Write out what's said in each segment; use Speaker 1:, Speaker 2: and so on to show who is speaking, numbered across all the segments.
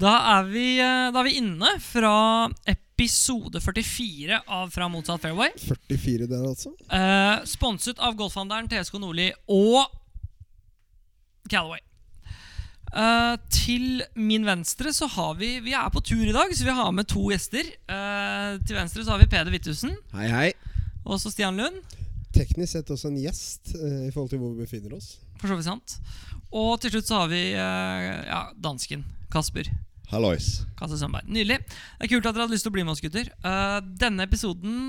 Speaker 1: Da er vi, eh, da er vi inne fra episode 44 av Fra motsatt fairway.
Speaker 2: 44 der, altså.
Speaker 1: Eh, sponset av golfhandleren TSK Nordli og Callaway. Eh, til min venstre så har vi Vi er på tur i dag, så vi har med to gjester. Eh, til venstre så har vi Peder Hvithusen
Speaker 3: Hei, hei.
Speaker 1: og så Stian Lund.
Speaker 2: Teknisk sett også en gjest eh, i forhold til hvor vi befinner oss.
Speaker 1: For så vidt sant. Og til slutt så har vi eh, ja, dansken Kasper.
Speaker 3: Hallois.
Speaker 1: Kasse Sandberg. Nydelig. Det er kult at dere hadde lyst til å bli med oss, gutter. Eh, denne episoden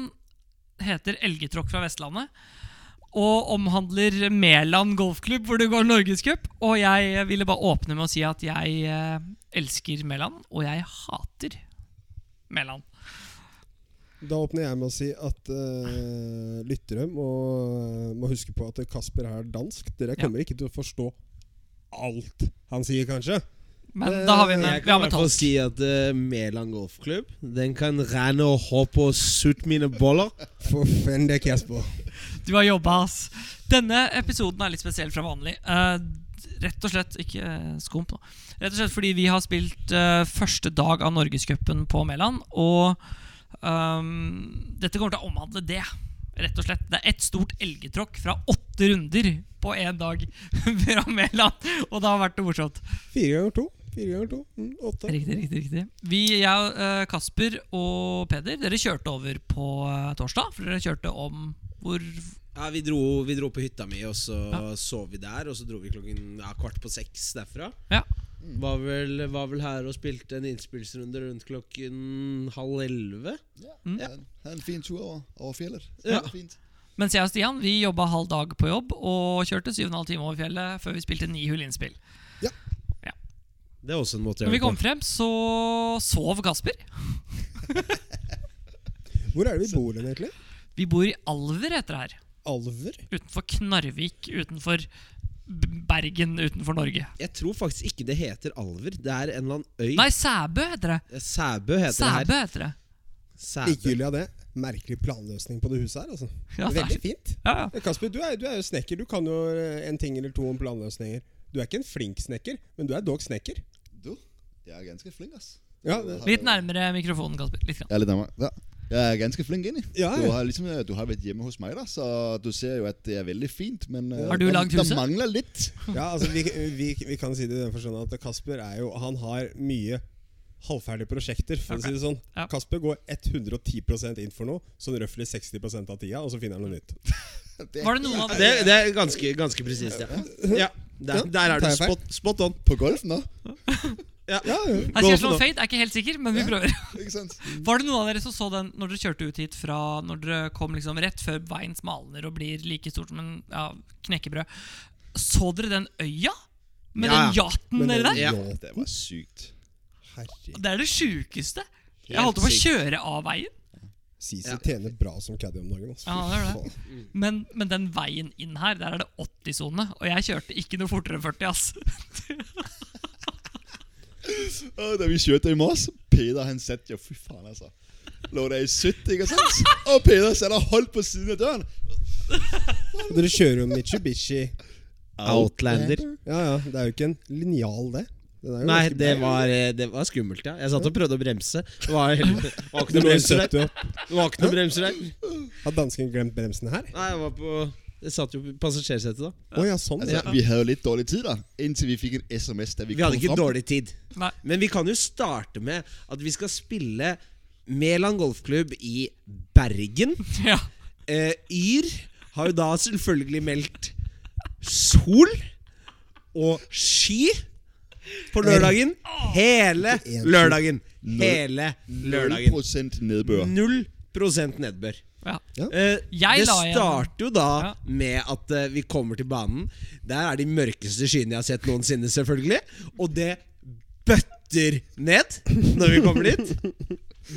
Speaker 1: heter 'Elgetråkk fra Vestlandet' og omhandler Mæland golfklubb, hvor det går norgescup. Og jeg ville bare åpne med å si at jeg eh, elsker Mæland, og jeg hater Mæland.
Speaker 2: Da åpner jeg med å si at eh, lyttere må, må huske på at Kasper er dansk. Dere
Speaker 1: Ja.
Speaker 2: kommer ikke til å forstå alt han sier, kanskje.
Speaker 1: Men da har vi med,
Speaker 3: Eh, Jeg
Speaker 1: vi har
Speaker 3: kan
Speaker 1: med
Speaker 3: i hvert fall
Speaker 1: tolk.
Speaker 3: si at uh, Mæland golfklubb Den kan renne og hoppe og sutte mine boller.
Speaker 2: For fenn, det er ikke jeg på.
Speaker 1: Du har jobba, ass. Denne episoden er litt spesiell fra vanlig. Eh, rett og slett Ikke eh, skump nå. Rett og slett fordi vi har spilt eh, første dag av Norgescupen på Mæland. Og ehm, dette kommer til å omhandle det. Rett og slett Det er ett stort elgetråkk fra åtte runder på én dag fra Mæland. Og det har vært noe morsomt.
Speaker 2: Fire ganger to. Fire ganger to. Mm, åtte.
Speaker 1: Riktig, riktig, riktig Vi, jeg, eh, Kasper og Peder, dere kjørte over på eh, torsdag. For dere kjørte om hvor
Speaker 3: Ja, vi dro, vi dro på hytta mi, og så
Speaker 1: Ja.
Speaker 3: sov vi der. Og så dro vi klokken ja, kvart på seks derfra.
Speaker 1: Ja.
Speaker 3: Var vel, var vel her og spilte en innspillsrunde rundt klokken halv elleve.
Speaker 4: Ja. Ha en fin tur over, over fjellet.
Speaker 3: Ja.
Speaker 4: Det er Fint.
Speaker 1: Mens jeg og Stian vi jobba halv dag på jobb og kjørte 7,5 timer over fjellet før vi spilte ni hull innspill.
Speaker 3: Det er også en måte å
Speaker 1: Når vi
Speaker 3: gjøre
Speaker 1: kom
Speaker 3: det på.
Speaker 1: frem, så sov Kasper.
Speaker 2: Hvor er det vi bor hen, egentlig?
Speaker 1: Vi bor i Alver etter det her.
Speaker 2: Alver?
Speaker 1: Utenfor Knarvik, utenfor B- Bergen, utenfor Norge.
Speaker 3: Jeg tror faktisk ikke det heter Alver. Det er en eller annen øy. Eh,
Speaker 1: Nei, Sæbø heter det.
Speaker 3: Sæbø heter det her.
Speaker 1: Sæbø heter det.
Speaker 3: Sæbø.
Speaker 2: Ikke Julia, det. Merkelig planløsning på det huset her, altså.
Speaker 1: Ja, det
Speaker 2: Veldig
Speaker 1: er,
Speaker 2: fint. Eh,
Speaker 1: ja, ja.
Speaker 2: Kasper, du er, du er jo snekker. Du kan jo eh, en ting eller to om planløsninger. Du er ikke en flink snekker, men du er dog snekker.
Speaker 4: Du, jeg er ganske flink, ass.
Speaker 2: Ja,
Speaker 4: Du
Speaker 2: det,
Speaker 4: har-
Speaker 1: Litt nærmere mikrofonen, Kasper. Litt grann.
Speaker 4: Ja, litt nærmere. Ja. Jeg er ganske flink, egentlig.
Speaker 2: Ja,
Speaker 4: Du,
Speaker 2: ja.
Speaker 4: har liksom, du har vært hjemme hos meg, da, så du ser jo at det er veldig fint, men eh,
Speaker 1: Har du
Speaker 4: det-
Speaker 1: lagd huset?
Speaker 4: Det mangler litt.
Speaker 2: ja altså, vi, vi, vi kan si det i den forstand at Kasper er jo Han har mye halvferdige prosjekter, for å si det sånn.
Speaker 1: Ja.
Speaker 2: Kasper går 110 inn for noe, sånn røftlig 60 av tida, og så finner han noe nytt.
Speaker 1: Var det noen av
Speaker 3: Det, det er ganske, ganske presist, ja. ja der, der er
Speaker 2: tar
Speaker 3: du
Speaker 2: jeg feil?
Speaker 3: spot, spot on.
Speaker 4: På golf nå?
Speaker 2: Ja, ja.
Speaker 1: Jeg sier slå fade, er ikke helt sikker, men vi prøver.
Speaker 4: Ikke sant?
Speaker 1: Var det noen av dere som så den når dere kjørte ut hit fra Når dere kom liksom rett før veien smalner og blir like stort som en ja, knekkebrød? Så dere den øya? Med
Speaker 3: Ja,
Speaker 1: den yachten
Speaker 2: Men
Speaker 1: nede
Speaker 2: den-
Speaker 1: der?
Speaker 3: Ja.
Speaker 2: ja,
Speaker 4: Det var sykt.
Speaker 2: Herregud.
Speaker 1: Det er det sjukeste. Jeg
Speaker 3: Helt
Speaker 1: holdt på å
Speaker 3: sykt.
Speaker 1: kjøre av veien,
Speaker 2: Sisi
Speaker 3: Ja.
Speaker 2: tjener bra som caddy om dagen. Altså.
Speaker 1: Ja, han gjør
Speaker 2: det.
Speaker 1: men, men den veien inn her, der er det 80-sone. Og jeg kjørte ikke noe fortere enn 40, ass.
Speaker 4: Og da vi kjørte i morges, Peder han satt jo Fy faen, altså. Lå der i 70, ikke sant? Og Peder satt og holdt på siden av døren.
Speaker 2: Dere kjører jo Mitsubishi.
Speaker 3: Outlander.
Speaker 2: Ja, ja, det er jo ikke en linjal, det. Den er jo
Speaker 3: Nei,
Speaker 2: ganske
Speaker 3: det
Speaker 2: brei.
Speaker 3: var, eh, det var skummelt, ja. Jeg satt og prøvde å bremse. Det var, det var
Speaker 2: Det
Speaker 3: ikke noen
Speaker 2: ble
Speaker 3: bremser
Speaker 2: støtt
Speaker 3: der.
Speaker 2: opp.
Speaker 3: Det var ikke noen bremser der.
Speaker 2: Har dansken glemt bremsen her?
Speaker 3: Nei, jeg var på Jeg satt jo på passasjersetet, da.
Speaker 2: Å ja, sånn.
Speaker 4: Altså, Vi hadde jo litt dårlig tid, da. Inntil vi fikk en SMS der vi,
Speaker 3: Vi hadde
Speaker 4: kom
Speaker 3: ikke
Speaker 4: fram.
Speaker 3: dårlig tid.
Speaker 1: Nei.
Speaker 3: Men vi kan jo starte med at vi skal spille Mæland golfklubb i Bergen.
Speaker 1: Ja.
Speaker 3: Eh, Yr har jo da selvfølgelig meldt sol og sky på lørdagen. Hele
Speaker 2: en sol.
Speaker 3: lørdagen. Hele lørdagen.
Speaker 4: 0% nedbør.
Speaker 3: Null prosent nedbør.
Speaker 1: ja.
Speaker 3: Eh,
Speaker 1: Jeg
Speaker 3: det
Speaker 1: la igjen-
Speaker 3: starter
Speaker 1: Ja.
Speaker 3: jo da med at eh, vi kommer til banen. Der er de mørkeste skyene jeg har sett noensinne, selvfølgelig. Og det bøtter ned når vi kommer dit.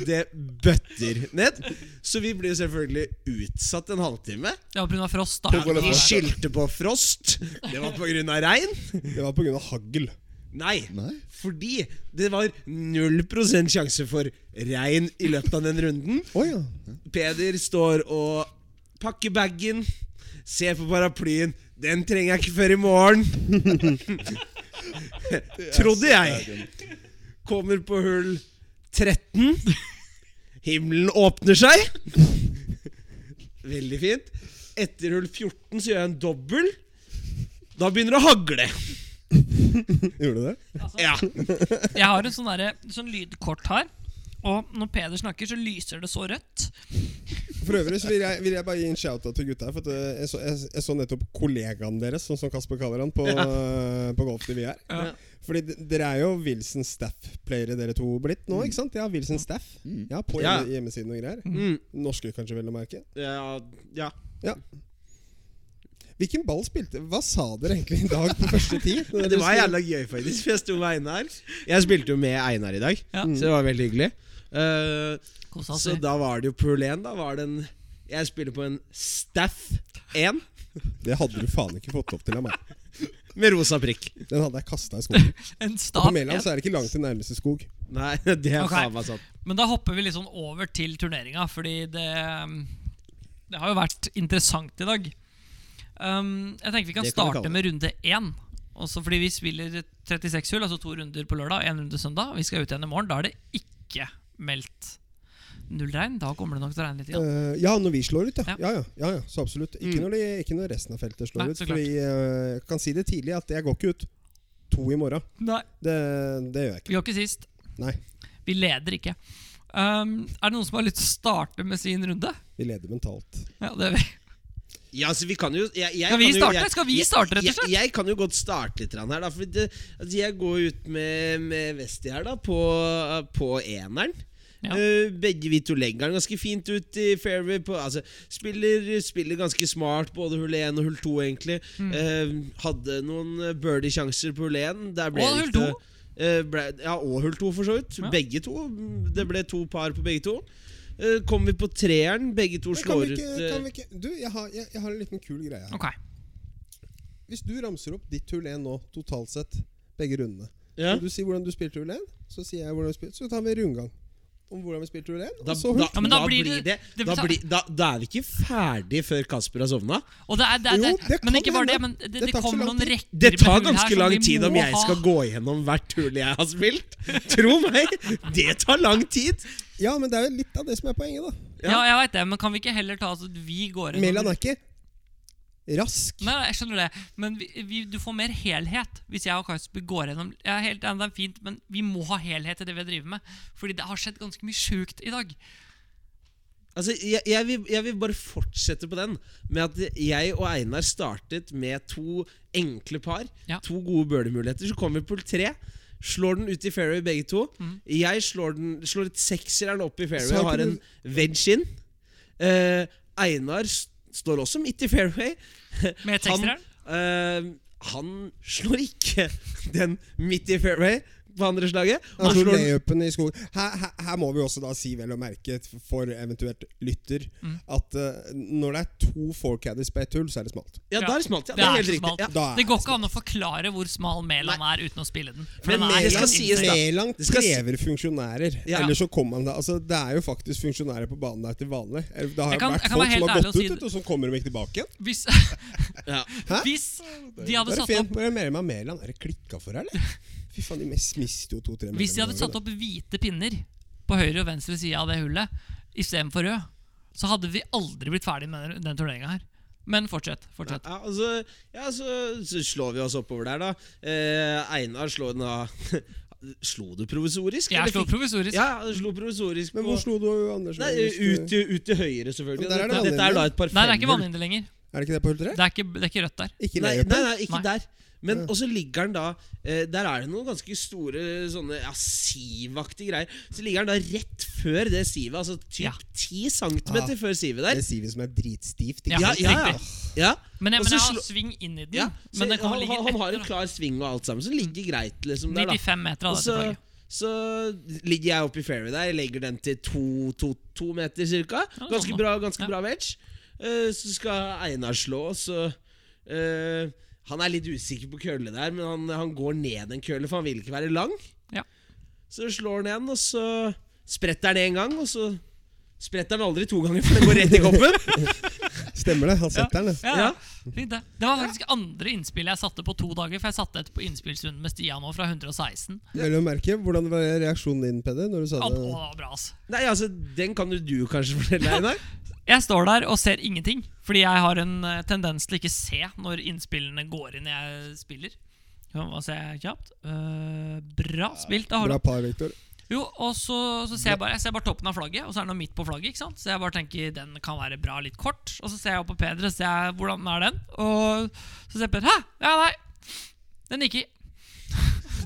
Speaker 3: Det bøtter ned. Så vi blir jo selvfølgelig utsatt en halvtime.
Speaker 1: Det var pga. frost, da.
Speaker 4: På grunn av
Speaker 3: De
Speaker 1: Ja,
Speaker 3: skyldte på frost. Det var pga. regn.
Speaker 2: Det var pga. hagl.
Speaker 3: Nei,
Speaker 4: Nei.
Speaker 3: fordi det var 0 sjanse for regn i løpet av den runden.
Speaker 2: Å ja.
Speaker 3: Peder står og pakker bagen, ser på paraplyen. Den trenger jeg ikke før i morgen.
Speaker 4: Det er
Speaker 3: Trodde
Speaker 4: så
Speaker 3: jeg.
Speaker 4: jævlig.
Speaker 3: Kommer på hull 13. Himmelen åpner seg. Veldig fint. Etter hull 14 så gjør jeg en dobbel. Da begynner det å hagle.
Speaker 2: Gjorde du det?
Speaker 3: Ja.
Speaker 1: Jeg har en sånn, derre- sånn lydkort her. Og når Peder snakker, så lyser det så rødt.
Speaker 2: For øvrig så vil jeg, vil jeg bare gi en shout-out til gutta her. For at eh, jeg så, jeg, jeg så nettopp kollegaen deres, sånn som Kasper kaller han, på, eh, på Golf TV her.
Speaker 1: Ja.
Speaker 2: Fordi d- dere er jo Wilson Staff-playere, dere to blitt nå, ikke sant? Ja, Wilson Staff.
Speaker 4: Mm.
Speaker 2: Ja, På
Speaker 3: Mm. Ja.
Speaker 2: hjemme- hjemmesiden og greier.
Speaker 3: Mm.
Speaker 2: Norske, kanskje, vel å merke.
Speaker 3: Ja, ja.
Speaker 2: Hvilken ball spilte Hva sa dere egentlig i dag på første ti?
Speaker 3: Men Det var jævla gøy, faktisk. for Jeg sto med Einar. Jeg spilte jo med Einar i dag,
Speaker 1: Ja.
Speaker 3: så det var veldig hyggelig.
Speaker 4: Mm.
Speaker 3: Eh,
Speaker 1: Kos oss.
Speaker 3: så da var det jo pool 1. Da var det en Jeg spiller på en Staff 1
Speaker 2: Det hadde du faen ikke fått opp til av meg.
Speaker 3: med rosa prikk.
Speaker 2: Den hadde jeg kasta i skogen.
Speaker 1: En
Speaker 2: På
Speaker 1: stav.
Speaker 2: Mæland så er det ikke langt til nærmeste skog.
Speaker 3: Nei, det er
Speaker 1: Ok.
Speaker 3: faen meg sant.
Speaker 1: Men da hopper vi litt sånn over til turneringa, fordi det um, Det har jo vært interessant i dag. Um, jeg tenker vi kan
Speaker 3: Det kan vi
Speaker 1: starte
Speaker 3: kalle
Speaker 1: med runde én. Også fordi vi spiller 36 hull, altså to runder på lørdag, én runde søndag. Vi skal ut igjen i morgen. Da er det ikke meldt nullregn. Da kommer det nok til å regne litt. Igjen.
Speaker 2: Eh, ja, når vi slår ut,
Speaker 1: Ja.
Speaker 2: ja. Ja, ja, ja, ja så absolutt. Ikke,
Speaker 3: Mm.
Speaker 2: når de, ikke når resten av feltet slår
Speaker 1: Nei,
Speaker 2: ut.
Speaker 1: så
Speaker 2: Fordi eh, jeg kan si det tidlig at jeg går ikke ut to i morgen.
Speaker 1: Nei,
Speaker 2: Det, det gjør jeg ikke.
Speaker 1: vi går ikke sist.
Speaker 2: Nei,
Speaker 1: Vi leder ikke. Um, er det noen som har lyst til å starte med sin runde?
Speaker 2: vi leder mentalt.
Speaker 1: Ja, det er vi.
Speaker 3: Ja, altså, vi kan jo jeg, jeg
Speaker 1: Skal vi
Speaker 3: kan jo-
Speaker 1: starte?
Speaker 3: jeg-
Speaker 1: Skal vi
Speaker 3: jeg-
Speaker 1: starte, rett og slett?
Speaker 3: Jeg, jeg kan jo godt starte litt grann her, da. For det, altså, jeg går ut med, med Vesti her, da, på, på eneren.
Speaker 1: Ja.
Speaker 3: Eh, begge vi to legger den ganske fint ut i fairway. På, altså, spiller, spiller ganske smart, både hull 1 og hull 2, egentlig.
Speaker 1: Mm.
Speaker 3: Eh, hadde noen birdie-sjanser på hull 1. Der ble
Speaker 1: Og
Speaker 3: det
Speaker 1: hull
Speaker 3: ikke-
Speaker 1: 2.
Speaker 3: Eh, ble, ja, og hull 2, for så vidt.
Speaker 1: Ja.
Speaker 3: Begge to. Det ble to par på begge to. Eh, kom vi på treeren, begge to
Speaker 2: Men Kan
Speaker 3: slår
Speaker 2: vi
Speaker 3: ut
Speaker 2: ikke,
Speaker 3: eh,
Speaker 2: kan vi ikke Du, jeg har, jeg, jeg har en liten kul greie her.
Speaker 1: Ok.
Speaker 2: Hvis du ramser opp ditt hull 1 nå, totalt sett, begge rundene
Speaker 3: ja.
Speaker 2: Kan Du sier hvordan du spilte hull 1, så sier jeg hvordan du spilte, så tar vi en rundgang. Om hvordan vi spilte hull 1,
Speaker 3: Da,
Speaker 2: og så hull
Speaker 3: da,
Speaker 1: Ja, men da
Speaker 3: da
Speaker 1: blir
Speaker 3: blir
Speaker 1: det-
Speaker 3: det,
Speaker 1: det
Speaker 3: da,
Speaker 1: blir-
Speaker 3: blir, da, da er vi ikke ferdig før Kasper har sovna.
Speaker 1: Og det er, det er,
Speaker 2: Jo,
Speaker 1: det,
Speaker 2: det
Speaker 1: men
Speaker 2: kan
Speaker 1: ikke bare det,
Speaker 2: hende.
Speaker 1: men det, det,
Speaker 2: Det tar så
Speaker 1: kommer
Speaker 2: lang
Speaker 1: noen
Speaker 2: tid.
Speaker 1: rekker
Speaker 3: Det tar
Speaker 1: med hull her
Speaker 3: ganske
Speaker 1: som
Speaker 3: lang
Speaker 1: vi
Speaker 3: tid om
Speaker 1: må
Speaker 3: jeg
Speaker 1: ha.
Speaker 3: skal gå gjennom hvert hull jeg har spilt. Tro meg! Det tar lang tid.
Speaker 2: Ja, men det er jo litt av det som er poenget, da.
Speaker 1: Ja, jeg vet det, men kan vi ikke heller ta altså, Vi går inn
Speaker 2: Mæland er ikke rask.
Speaker 1: Nei, jeg skjønner det, men vi, vi, du får mer helhet hvis jeg og Kasper går gjennom Jeg er helt enig, det er fint, men vi må ha helhet i det vi driver med. Fordi det har skjedd ganske mye sjukt i dag.
Speaker 3: Altså, jeg, jeg, vil, jeg vil bare fortsette på den med at jeg og Einar startet med to enkle par.
Speaker 1: Ja.
Speaker 3: To gode birdie-muligheter. Så kommer vi på tre. Slår den ut i fairway, begge to.
Speaker 1: Mm.
Speaker 3: Jeg slår, den, slår et sekseren opp i fairway
Speaker 2: Så
Speaker 3: og har
Speaker 2: kunne
Speaker 3: en wedge in. Eh, Einar s- står også midt i fairway.
Speaker 1: Med
Speaker 3: Han,
Speaker 1: teksteren.
Speaker 3: eh, han slår ikke den midt i fairway på andre slaget.
Speaker 1: altså,
Speaker 2: Han
Speaker 3: Han
Speaker 2: slo
Speaker 3: slår den
Speaker 2: layupen i skogen. Her, her, her må vi også da si vel å merke t- for eventuelt lytter
Speaker 1: Mm.
Speaker 2: at eh, når det er to forecaddies på ett hull, så er det smalt.
Speaker 3: Ja,
Speaker 1: Ja.
Speaker 3: der smalt jeg.
Speaker 1: Det
Speaker 3: Det
Speaker 1: er
Speaker 3: er helt
Speaker 1: så
Speaker 3: riktig.
Speaker 1: smalt.
Speaker 3: Ja.
Speaker 2: Da er
Speaker 1: Det går ikke an å forklare hvor smal Mæland er uten å spille den. For
Speaker 3: Men
Speaker 1: den er
Speaker 3: Mæland-
Speaker 1: helt
Speaker 3: det skal sies,
Speaker 1: insane.
Speaker 3: da.
Speaker 2: Mæland
Speaker 3: Det skal si-
Speaker 2: krever funksjonærer.
Speaker 3: Ja.
Speaker 2: Ellers så kommer han da Altså Det er jo faktisk funksjonærer på banen der til vanlig. Eh, Det har
Speaker 1: Jeg kan-
Speaker 2: vært
Speaker 1: jeg kan være
Speaker 2: folk
Speaker 1: helt
Speaker 2: som har
Speaker 1: ærlig og si
Speaker 2: gått ut,
Speaker 1: det.
Speaker 2: vet du, og så kommer de ikke tilbake igjen.
Speaker 1: Hvis,
Speaker 3: Ja.
Speaker 1: hvis de
Speaker 2: Det
Speaker 1: hadde
Speaker 2: er
Speaker 1: satt
Speaker 2: fint.
Speaker 1: opp
Speaker 2: Hva er det mer med Mæland? Er det klikka for, eller? Fy faen, de mest mister jo to-tre
Speaker 1: Hvis de hadde satt opp hvite pinner på høyre og venstre side av det hullet istedenfor rød, så hadde vi aldri blitt ferdig med den- den turneringa her. Men fortsett. fortsett.
Speaker 3: Ja, altså, ja så, så slår vi oss oppover der, da. Eh, Einar slår den av Slo du provisorisk? eller
Speaker 1: Jeg slo
Speaker 3: fikk-
Speaker 1: provisorisk.
Speaker 3: Ja, han slo provisorisk
Speaker 2: Men
Speaker 3: på
Speaker 2: hvor slo du, Anders?
Speaker 3: Nei,
Speaker 2: Hvis du-
Speaker 3: ut, til- ut til høyre, selvfølgelig.
Speaker 2: Men der er det
Speaker 3: dette, dette er da et par
Speaker 1: Nei, det er ikke
Speaker 3: femmer.
Speaker 1: vannhinder lenger.
Speaker 2: Er det ikke det på hull tre?
Speaker 1: Det er ikke, det er ikke rødt der.
Speaker 2: Ikke
Speaker 3: Nei,
Speaker 2: layupen?
Speaker 3: nei, nei, ikke
Speaker 1: Nei.
Speaker 3: der. Men og så ligger den da eh, Der er det noen ganske store sånne ja, sivaktige greier. Så ligger den da rett før det sivet, altså
Speaker 1: Ja.
Speaker 3: typ 10 centimeter
Speaker 2: Ah.
Speaker 3: før sivet
Speaker 2: Det
Speaker 3: der.
Speaker 2: sier vi som er dritstivt.
Speaker 1: Ja,
Speaker 2: ikke
Speaker 3: Ja,
Speaker 1: helt
Speaker 3: ja, ja.
Speaker 1: riktig.
Speaker 3: ja.
Speaker 1: Men jeg,
Speaker 3: Og
Speaker 1: men
Speaker 3: så
Speaker 1: jeg har
Speaker 3: slå-
Speaker 1: sving inn i den.
Speaker 3: ja. Så
Speaker 1: men den kommer
Speaker 3: han,
Speaker 1: ligge
Speaker 3: han, han har
Speaker 1: etter.
Speaker 3: en klar sving og alt sammen, så det ligger greit liksom
Speaker 1: da.
Speaker 3: der, da.
Speaker 1: 95 meter av
Speaker 3: Og
Speaker 1: det,
Speaker 3: så,
Speaker 1: selvfølgelig.
Speaker 3: så ligger jeg oppe i fairway der, legger den til to, to, to meter cirka.
Speaker 1: Ja,
Speaker 3: Ganske
Speaker 1: sånn da.
Speaker 3: bra, ganske
Speaker 1: Ja.
Speaker 3: bra wedge. Eh, så skal Einar slå, og så eh, Han er litt usikker på kølle der, men han, han går ned en kølle, for han vil ikke være lang.
Speaker 1: Ja.
Speaker 3: Så slår han en, og så spretter han en gang, og så spretter han aldri to ganger, for det går rett i koppen.
Speaker 2: sant? Stemmer det. Han setter den. det.
Speaker 1: Ja, Fint, det. det var faktisk andre innspill jeg satte på to dager. For jeg satte et på innspillsrunden med Stian nå fra 116.
Speaker 2: Vel å merke. Hvordan var reaksjonen din, Peder? Når du sa
Speaker 1: Å, det
Speaker 2: det?
Speaker 1: var bra, ass.
Speaker 3: Nei, altså, Den kan jo du kanskje fortelle, Einar.
Speaker 1: Jeg står der og ser ingenting, fordi jeg har en eh, tendens til ikke se når innspillene går inn jeg spiller. Kan man se kjapt. Eh, bra spilt av
Speaker 2: Bra
Speaker 1: Harald.
Speaker 2: par, Victor.
Speaker 1: Jo, og så, så ser jeg, bare, jeg ser bare toppen av flagget, og så er den midt på flagget. ikke sant? Så jeg bare tenker den kan være bra litt kort. Og så ser jeg opp på Peder og ser jeg, hvordan er den. Og så ser Peder Hæ? Ja, nei. Den gikk i.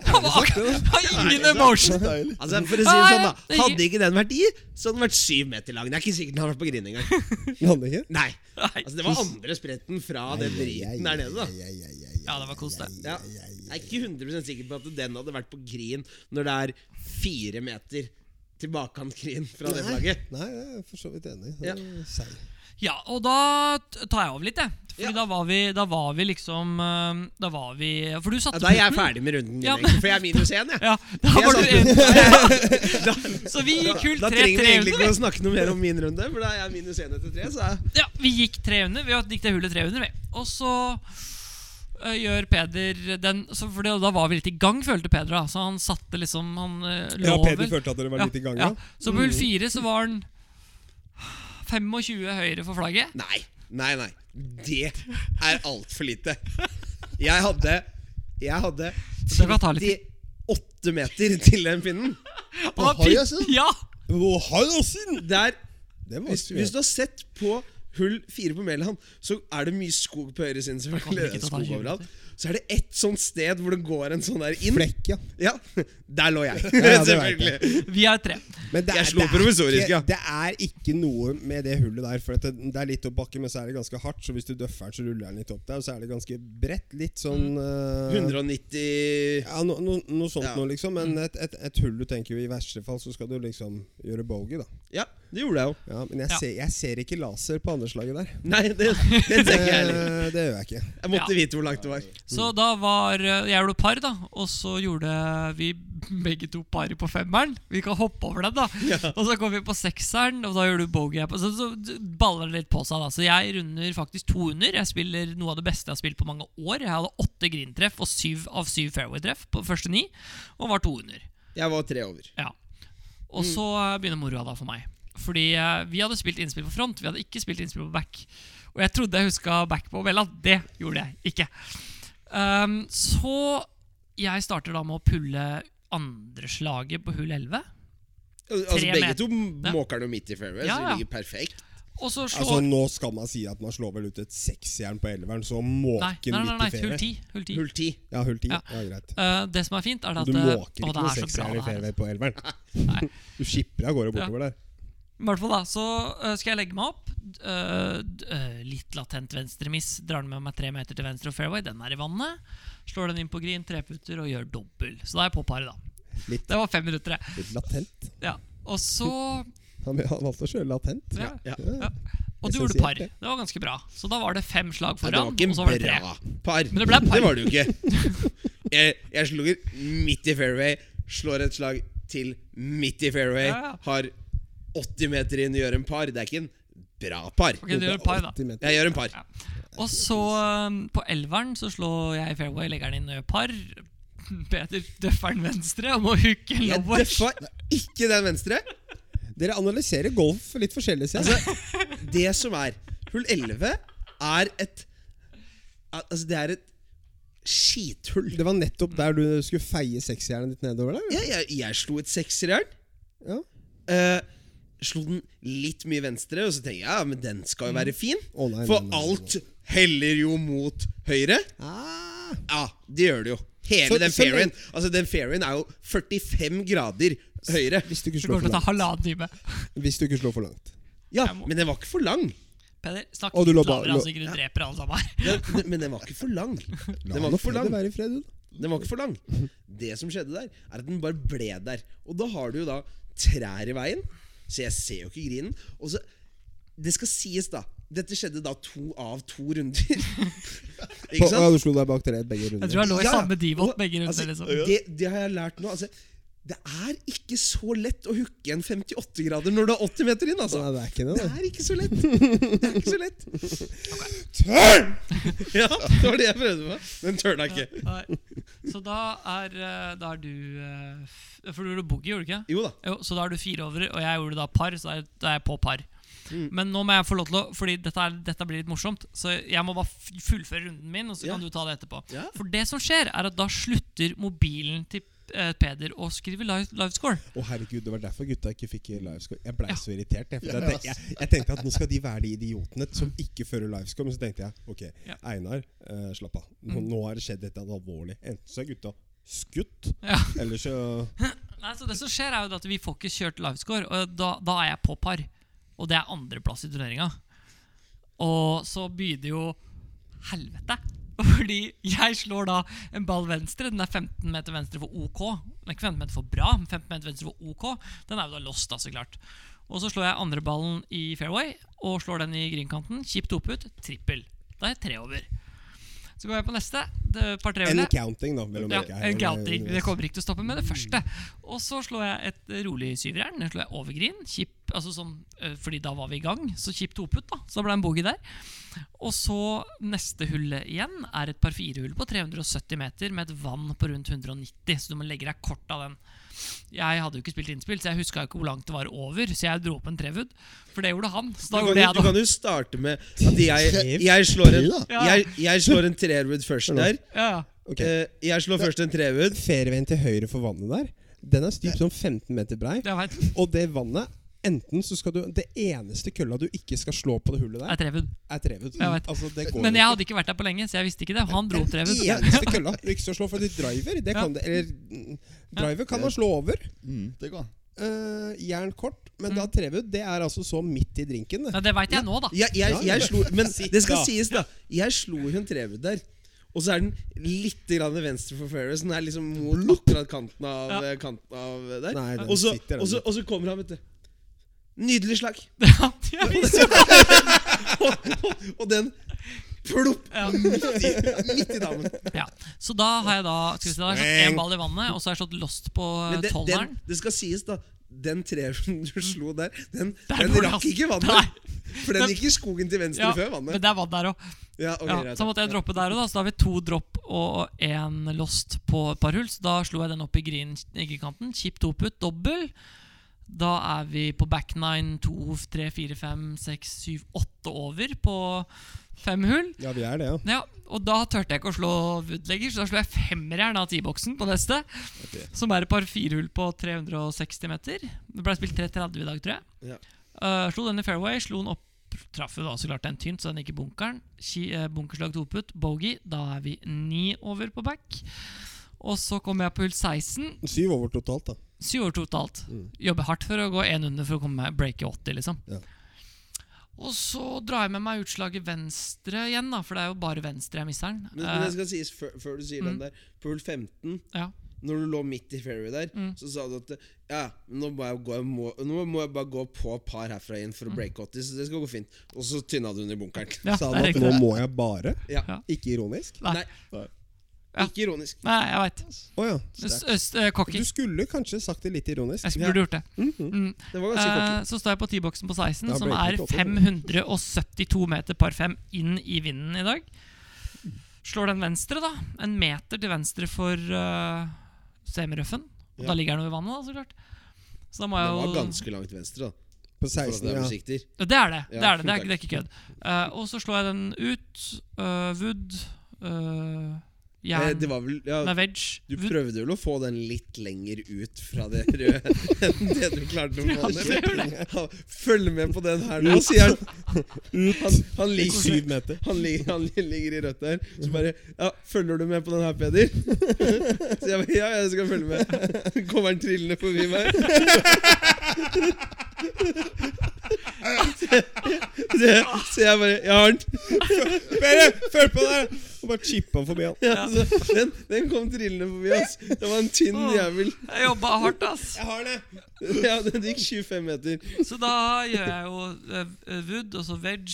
Speaker 1: Han var akkurat, han har ingen
Speaker 4: Så
Speaker 1: emotion.
Speaker 4: deilig.
Speaker 3: Altså, for å si det sånn da
Speaker 1: Nei, det-
Speaker 3: Hadde ikke den vært i, så hadde den vært syv meter lang. Det er ikke sikkert den hadde vært på Grini engang.
Speaker 2: Han ikke?
Speaker 3: Nei.
Speaker 1: Nei.
Speaker 3: Altså, det var andre spretten fra den driten der nede, da.
Speaker 1: Ja, det var kos, det.
Speaker 3: Ja. Jeg er ikke 100 sikker på at den hadde vært på Grin når det er fire meter tilbakekant-Grin fra det flagget.
Speaker 2: Nei, jeg er for så vidt enig.
Speaker 3: Ja.
Speaker 2: Seig.
Speaker 1: Ja, og da t- tar jeg over litt, jeg. Fordi
Speaker 3: Ja.
Speaker 1: da, var vi, da var vi liksom eh, Da var vi For du
Speaker 3: Ja,
Speaker 1: satte
Speaker 3: da er jeg ferdig med runden min,
Speaker 1: Ja, men-
Speaker 3: egentlig, for jeg er minus én, jeg.
Speaker 1: Ja, da
Speaker 3: Jeg
Speaker 1: var du
Speaker 3: satte- Da,
Speaker 1: Så vi gikk hull
Speaker 3: da
Speaker 1: tre
Speaker 3: trenger vi
Speaker 1: tre
Speaker 3: egentlig
Speaker 1: under.
Speaker 3: ikke å snakke noe mer om min runde, for da er jeg minus én etter tre. Så jeg,
Speaker 1: vi. Ja, vi gikk tre under. Vi gikk det hullet tre under, vi. Og så eh, gjør Peder den så for det, Da var vi litt i gang, følte Peder. da Så han satte liksom Han eh, lå
Speaker 2: Ja, Peder
Speaker 1: vel.
Speaker 2: følte at dere var litt i gang, ja.
Speaker 1: ja. Så på hull
Speaker 3: Mm.
Speaker 1: fire så var han 25 høyre for flagget.
Speaker 3: nei, nei, nei. Det er altfor lite. Jeg hadde Jeg hadde
Speaker 1: Så det var ta litt-
Speaker 3: 38 meter til den pinnen.
Speaker 1: Og da
Speaker 4: høyre
Speaker 1: pin-
Speaker 3: altså.
Speaker 4: siden?
Speaker 1: Ja!
Speaker 2: Å, Halsen!
Speaker 3: Det er
Speaker 2: Det var
Speaker 3: Hvis, hvis
Speaker 2: skrevet.
Speaker 3: du har sett på hull fire på Mæland, så er det mye skog på høyre siden.
Speaker 1: kommer
Speaker 3: selvfølgelig
Speaker 1: ikke
Speaker 3: det er
Speaker 1: til å ta
Speaker 3: skog
Speaker 1: 20
Speaker 3: overalt Så er det ett sånt sted hvor det går en sånn der inn.
Speaker 2: Flekk, ja.
Speaker 3: Ja, Der lå jeg.
Speaker 2: Ja, det vet jeg.
Speaker 3: selvfølgelig.
Speaker 1: Vi er tre.
Speaker 2: Men det
Speaker 3: Jeg
Speaker 2: er,
Speaker 3: slo
Speaker 2: det er
Speaker 3: provisorisk,
Speaker 2: ikke,
Speaker 3: ja.
Speaker 2: Det er ikke noe med det hullet der. For at det, det er litt oppbakke, men så er det ganske hardt. Så hvis du døffer den, så ruller den litt opp der. Og så er det ganske bredt. Litt sånn
Speaker 3: Mm.
Speaker 2: eh,
Speaker 3: 190
Speaker 2: ja, no, no, Noe sånt
Speaker 3: Ja.
Speaker 2: noe, liksom. Men
Speaker 1: Mm.
Speaker 2: et, et, et hull du tenker jo i verste fall, så skal du liksom gjøre bogey, da.
Speaker 3: Ja, det gjorde jeg jo.
Speaker 2: Ja, men jeg,
Speaker 1: Ja.
Speaker 2: ser, jeg ser ikke laser på andreslaget der.
Speaker 3: Nei, det, det tenker jeg heller.
Speaker 2: Eh, det gjør jeg ikke.
Speaker 3: Jeg måtte
Speaker 1: Ja.
Speaker 3: vite hvor langt det var.
Speaker 1: Så da var eh, jeg gjorde par, da. Og så gjorde vi begge to par på femmeren. Vi kan hoppe over den, da. Og så kom vi på sekseren, og da gjør du bogey. her på- Så, så baller det litt på seg, da. Så jeg runder faktisk to under. Jeg spiller noe av det beste jeg har spilt på mange år. Jeg hadde åtte green-treff og syv av syv fairway-treff på første ni, og var to under.
Speaker 3: Jeg var tre over.
Speaker 1: Ja. Og
Speaker 2: Mm.
Speaker 1: så eh, begynner moroa da for meg. Fordi eh, vi hadde spilt innspill på front, vi hadde ikke spilt innspill på back. Og jeg trodde jeg huska back på Vella. Det gjorde jeg ikke. Ehm, så jeg starter da med å pulle andreslaget på hull 11.
Speaker 3: Altså,
Speaker 1: Tre
Speaker 3: begge
Speaker 1: meter.
Speaker 3: to
Speaker 1: Ja.
Speaker 3: måker noe midt i fairway,
Speaker 1: Ja,
Speaker 3: så
Speaker 1: ja.
Speaker 3: det ligger perfekt.
Speaker 1: Og så slår
Speaker 2: Altså Nå skal man si at man slår vel ut et seksjern på elveren, så
Speaker 1: Nei,
Speaker 2: måken
Speaker 1: nei, nei, nei,
Speaker 2: midt i
Speaker 1: hull
Speaker 2: ferie.
Speaker 1: 10. Hull 10.
Speaker 3: Hull ti.
Speaker 2: Ja, hull ti.
Speaker 1: Ja.
Speaker 2: Ja. greit.
Speaker 1: Eh, det som er fint, er det at
Speaker 2: Du
Speaker 1: eh,
Speaker 2: måker
Speaker 1: å,
Speaker 2: ikke
Speaker 1: det
Speaker 2: noe
Speaker 1: er så bra,
Speaker 2: seksjern i
Speaker 1: det her.
Speaker 2: fairway på elveren. Du skipper av gårde bortover der.
Speaker 1: I hvert fall da, så øh, skal jeg legge meg opp. Øh, d- øh, litt latent venstremiss. Drar den med meg tre meter til venstre og fairway. Den er i vannet. Slår den inn på green, treputter og gjør dobbel. Så da er jeg på paret, da.
Speaker 2: Litt.
Speaker 1: Det var fem minutter, det.
Speaker 2: Litt latent.
Speaker 1: Ja. Og så
Speaker 2: Han, han valgte å kjøre latent.
Speaker 1: ja.
Speaker 3: Ja.
Speaker 1: Ja. Og du gjorde
Speaker 2: Essensielt,
Speaker 1: par.
Speaker 2: det.
Speaker 1: Det var ganske bra. Så da var det fem slag
Speaker 3: Ja, det
Speaker 1: foran,
Speaker 3: var ikke
Speaker 1: og så var det tre.
Speaker 3: bra par.
Speaker 1: Men det ble par.
Speaker 3: Det var det jo ikke. Jeg, jeg slår midt i fairway, slår et slag til midt i fairway,
Speaker 1: Ja, ja.
Speaker 3: har 80 meter inn, gjør en par. Det er ikke en bra par.
Speaker 1: Ok, du gjør par, da.
Speaker 2: 80 meter.
Speaker 3: Jeg gjør en par.
Speaker 1: Ja. Og så øhm, på elveren så slår jeg fairway, legger den inn og gjør par. Peter døffer den venstre og må hooke en
Speaker 3: Jeg
Speaker 1: lower.
Speaker 3: døffa ikke den venstre.
Speaker 2: Dere analyserer golf litt forskjellig, ser jeg.
Speaker 3: Altså, det som er Hull 11 er et al- Altså, det er et skithull.
Speaker 2: Det var nettopp der du skulle feie seksjernet ditt nedover der?
Speaker 3: Jeg, jeg, jeg slo et sekserjern.
Speaker 2: Ja.
Speaker 3: Eh, slo den litt mye venstre, og så tenker jeg ja, men den skal jo være fin.
Speaker 2: Mm. Å, nei,
Speaker 3: For
Speaker 2: nei, nei, nei,
Speaker 3: alt heller jo mot høyre.
Speaker 2: Ah.
Speaker 3: Ja, det gjør det jo. Hele
Speaker 2: Så-
Speaker 3: den
Speaker 2: så
Speaker 3: fairien.
Speaker 2: lenge-
Speaker 3: Altså, den fairien er jo 45 grader høyre.
Speaker 2: Hvis du ikke
Speaker 1: Det
Speaker 2: slår
Speaker 1: kommer til
Speaker 2: for
Speaker 1: å ta
Speaker 2: langt.
Speaker 1: halvannen time.
Speaker 2: Hvis du ikke slår for langt.
Speaker 3: Ja,
Speaker 1: Jeg må-
Speaker 3: Men den var ikke for lang.
Speaker 1: Peder, snakk
Speaker 2: Og du
Speaker 1: litt
Speaker 2: lå ba-
Speaker 1: lavere,
Speaker 2: lå-
Speaker 1: altså ikke du dreper alle sammen her.
Speaker 3: Den, den, men den var ikke for lang. Den var
Speaker 2: nå
Speaker 3: ikke for
Speaker 2: får
Speaker 3: lang.
Speaker 2: det være i fred, du.
Speaker 3: Den var ikke for lang. Det som skjedde der, er at den bare ble der. Og da har du jo da trær i veien, så jeg ser jo ikke grinen. Og så Det skal sies, da. Dette skjedde da to av to runder.
Speaker 2: På,
Speaker 3: ikke
Speaker 2: ja,
Speaker 3: sant?
Speaker 2: du slo deg bak treet begge runder.
Speaker 1: Jeg tror jeg lå i
Speaker 3: Ja, ja.
Speaker 1: samme divot
Speaker 3: Og,
Speaker 1: begge runder.
Speaker 3: altså,
Speaker 1: liksom.
Speaker 3: Det, det har jeg lært nå. Altså, Det er ikke så lett å hooke en 58 grader når du har 80 meter inn, altså.
Speaker 2: Nei, det er ikke det,
Speaker 3: Det
Speaker 2: da.
Speaker 3: er ikke så lett. Det er ikke så lett.
Speaker 2: Tørn!
Speaker 3: Ja, det var det jeg prøvde på. Den tørna ikke.
Speaker 1: Nei. Så da er, eh, da er du eh, f- For du gjorde boogie, gjorde du ikke?
Speaker 3: Jo da.
Speaker 1: Jo, så da er du fire over, og jeg gjorde da par, så da er- da er jeg på par.
Speaker 3: Mm.
Speaker 1: Men nå må jeg få lov til å Fordi dette, er, dette blir litt morsomt, så jeg må bare f- fullføre runden min, og så
Speaker 3: Ja.
Speaker 1: kan du ta det etterpå.
Speaker 3: Ja.
Speaker 1: For det som skjer, er at da slutter mobilen til eh, Peder å skrive live, livescore.
Speaker 2: Å herregud, Det var derfor gutta ikke fikk livescore. Jeg blei
Speaker 1: Ja.
Speaker 2: så irritert. Jeg, for
Speaker 4: Ja,
Speaker 2: jeg, tenkte, jeg, jeg tenkte at nå skal de være de idiotene som ikke fører livescore. Men så tenkte jeg ok,
Speaker 1: Ja. Mm.
Speaker 2: Einar, eh, slapp av. Nå, nå har det skjedd et eller annet alvorlig. Enten så er gutta skutt,
Speaker 1: Ja.
Speaker 2: eller så
Speaker 1: Nei, så Det som skjer, er jo at vi får ikke kjørt livescore, og da, da er jeg på par. Og det er andreplass i turneringa. Og så begynner jo helvete. Fordi jeg slår da en ball venstre. Den er 15 meter venstre for OK. Den er ikke 15 meter for bra, men 15 meter venstre for OK. Den er jo da lost, da, så klart. Og så slår jeg andre ballen i fairway og slår den i greenkanten. Kjipt opput. Trippel. Da er jeg tre over. Så går jeg på neste. det- Par
Speaker 2: En
Speaker 1: trehjulet.
Speaker 2: counting, da. mellom
Speaker 1: Ja,
Speaker 2: dere her, Eh,
Speaker 1: en gouting.
Speaker 2: eller-
Speaker 1: Det kommer ikke til å stoppe med det første. Og så slår jeg et eh, rolig syverjern. Den slår jeg over green. Kjip, altså sånn, eh, fordi da var vi i gang. Så kjipt hoputt, da. Så da ble det en boogie der. Og så neste hullet igjen er et par firehull på 370 meter med et vann på rundt 190, så du må legge deg kort av den. Jeg hadde jo ikke spilt innspill, så jeg huska ikke hvor langt det var over, så jeg dro opp en trewood. For det gjorde han. Så da
Speaker 3: Du
Speaker 1: gjorde
Speaker 3: kan,
Speaker 1: jeg
Speaker 3: du
Speaker 1: det.
Speaker 3: kan jo starte med at jeg, jeg slår en,
Speaker 1: Ja.
Speaker 3: jeg, jeg slår en treerwood først der.
Speaker 1: Ja, ja.
Speaker 2: Ok.
Speaker 3: Eh, Jeg slår først en treerwood.
Speaker 2: Fairwayen til høyre for vannet der, den er stypt som 15 meter brei.
Speaker 1: Jeg vet.
Speaker 2: Og det vannet Enten så skal du Det eneste kølla du ikke skal slå på det
Speaker 1: Det
Speaker 2: hullet der,
Speaker 1: er trewood.
Speaker 2: er trevet.
Speaker 1: Jeg vet.
Speaker 2: Altså, det går
Speaker 1: Men jeg
Speaker 2: ikke.
Speaker 1: hadde ikke vært der på lenge, så jeg visste ikke det. Han dro opp trewood.
Speaker 2: Den eneste kølla du ikke skal slå, for du driver det kan det, Eller mm, driver kan man slå over.
Speaker 4: Mm, det går.
Speaker 2: Eh, jern kort, men da trevet, det er altså så midt i drinken.
Speaker 1: Mm. Ja,
Speaker 2: Det.
Speaker 1: det veit jeg nå, da.
Speaker 3: Jeg, jeg,
Speaker 2: Ja, ja.
Speaker 3: jeg slo, men det skal
Speaker 2: da.
Speaker 3: sies, da. Jeg slo jo en treerwood der. Og så er den litt grann venstre for fairway, så den er liksom mot akkurat kanten av,
Speaker 1: Ja.
Speaker 3: eh, kanten av eh, der.
Speaker 2: Nei, den
Speaker 3: Og så-
Speaker 2: sitter, den.
Speaker 3: og så og så kommer han, vet du. Nydelig slag.
Speaker 1: Ja, jeg visste jo
Speaker 3: Og den plopp
Speaker 1: Ja.
Speaker 3: midt i, midt i damen.
Speaker 1: Ja, Så da har jeg da skal vi se, da har jeg slått én ball i vannet, og så har jeg slått lost på eh,
Speaker 3: Men det, den,
Speaker 1: tolveren.
Speaker 3: det skal sies, da. Den treeren du slo der, den,
Speaker 1: Der
Speaker 3: den
Speaker 1: bor det,
Speaker 3: rakk
Speaker 1: altså.
Speaker 3: ikke
Speaker 1: Nei.
Speaker 3: vannet. For den gikk i skogen til venstre
Speaker 1: Ja,
Speaker 3: før
Speaker 1: men
Speaker 3: vannet.
Speaker 1: det er vann der òg.
Speaker 3: Ja, ok,
Speaker 1: Ja,
Speaker 3: greit.
Speaker 1: så måtte jeg droppe der òg, da. Så da har vi to dropp og én lost på et par hull. Så da slo jeg den opp i green eggekanten. Kjipt hoputt, dobbel. Da er vi på back nine to, tre, fire, fem, seks, syv, åtte over på fem hull.
Speaker 2: Ja, vi er det, ja.
Speaker 1: Ja, og da turte jeg ikke å slå woodlegger, så da slo jeg femmeren av T-boksen på neste. Som er et par firehull på 360 meter. Det ble spilt 3.30 i dag, tror jeg.
Speaker 3: Ja.
Speaker 1: Eh, slo den i fairway, slo den opp Traff jo da så klart den tynt, så den gikk i bunkeren. Ski, eh, bunkerslag to putt, bogey. Da er vi ni over på back. Og så kommer jeg på hull 16.
Speaker 2: Syv over totalt, da.
Speaker 1: Syv over totalt. Jobber hardt for å gå én under for å komme meg break i 80, liksom.
Speaker 2: Ja.
Speaker 1: Og så drar jeg med meg utslaget venstre igjen, da, for det er jo bare venstre jeg mister den.
Speaker 3: Men, men det skal sies før, før du sier
Speaker 1: mm.
Speaker 3: den der. På hull
Speaker 1: Eh,
Speaker 3: 15,
Speaker 1: ja.
Speaker 3: når du lå midt i fairway der,
Speaker 1: Mm.
Speaker 3: så sa du at Ja, nå må jeg, gå, jeg må, nå må jeg bare gå på par herfra inn for å breake 80, så det skal gå fint. Og så tynna du den i bunkeren.
Speaker 1: Mm. Ja,
Speaker 2: Sa
Speaker 1: det
Speaker 2: han
Speaker 1: er
Speaker 2: at
Speaker 1: riktig.
Speaker 2: nå må jeg bare?
Speaker 3: Ja.
Speaker 1: Ja.
Speaker 2: Ikke ironisk?
Speaker 1: Nei.
Speaker 3: Nei.
Speaker 1: Ja.
Speaker 3: Ikke ironisk.
Speaker 1: Nei, jeg veit.
Speaker 2: Å ja.
Speaker 1: Cocky.
Speaker 2: Du skulle kanskje sagt det litt ironisk.
Speaker 1: eh, Jeg burde gjort det. Mm.
Speaker 3: Det var ganske
Speaker 1: Eh,
Speaker 3: kort.
Speaker 1: så står jeg på T-boksen på 16,
Speaker 2: Da
Speaker 1: som
Speaker 2: ble
Speaker 1: er
Speaker 2: det ikke
Speaker 1: 572 meter par 5 inn i vinden i dag. Slår den venstre, da. En meter til venstre for eh, semirøffen. Og
Speaker 3: Ja.
Speaker 1: Da ligger den jo i vannet, da, så klart. Så da må
Speaker 3: Den
Speaker 1: jeg
Speaker 3: var
Speaker 1: jo
Speaker 3: ganske langt venstre, da.
Speaker 2: På
Speaker 3: For at
Speaker 2: 16,
Speaker 3: det er
Speaker 2: ja.
Speaker 3: musikter.
Speaker 1: Ja, Det er det. Det
Speaker 3: Ja,
Speaker 1: er det, det, er,
Speaker 3: takk.
Speaker 1: det er ikke kødd. Eh, og så slår jeg den ut. eh, wood. eh,
Speaker 3: Eh,
Speaker 1: jern
Speaker 3: Det var vel ja,
Speaker 1: med wedge.
Speaker 3: Du
Speaker 1: Wood-
Speaker 3: prøvde vel å få den litt lenger ut fra det røde enn det du klarte å få
Speaker 1: Ja, det
Speaker 3: den? Følg med på den her nå, sier han. Han, han, ligger,
Speaker 2: Syv meter.
Speaker 3: han, ligger, han ligger i rødt der. Så bare Ja, følger du med på den her, Peder? Så jeg bare Ja, jeg skal følge med. Kommer han trillende forbi meg? Så jeg- Så jeg bare Jeg har den.
Speaker 2: Bare følg på der! Og bare chippa forbi han.
Speaker 3: Ja, så den, den kom trillende forbi oss. Det var en tynn jævel.
Speaker 1: Jeg jobba hardt, ass.
Speaker 2: Jeg har det!
Speaker 3: Ja, den gikk 25 meter.
Speaker 1: Så da gjør jeg jo eh, wood, og så veg,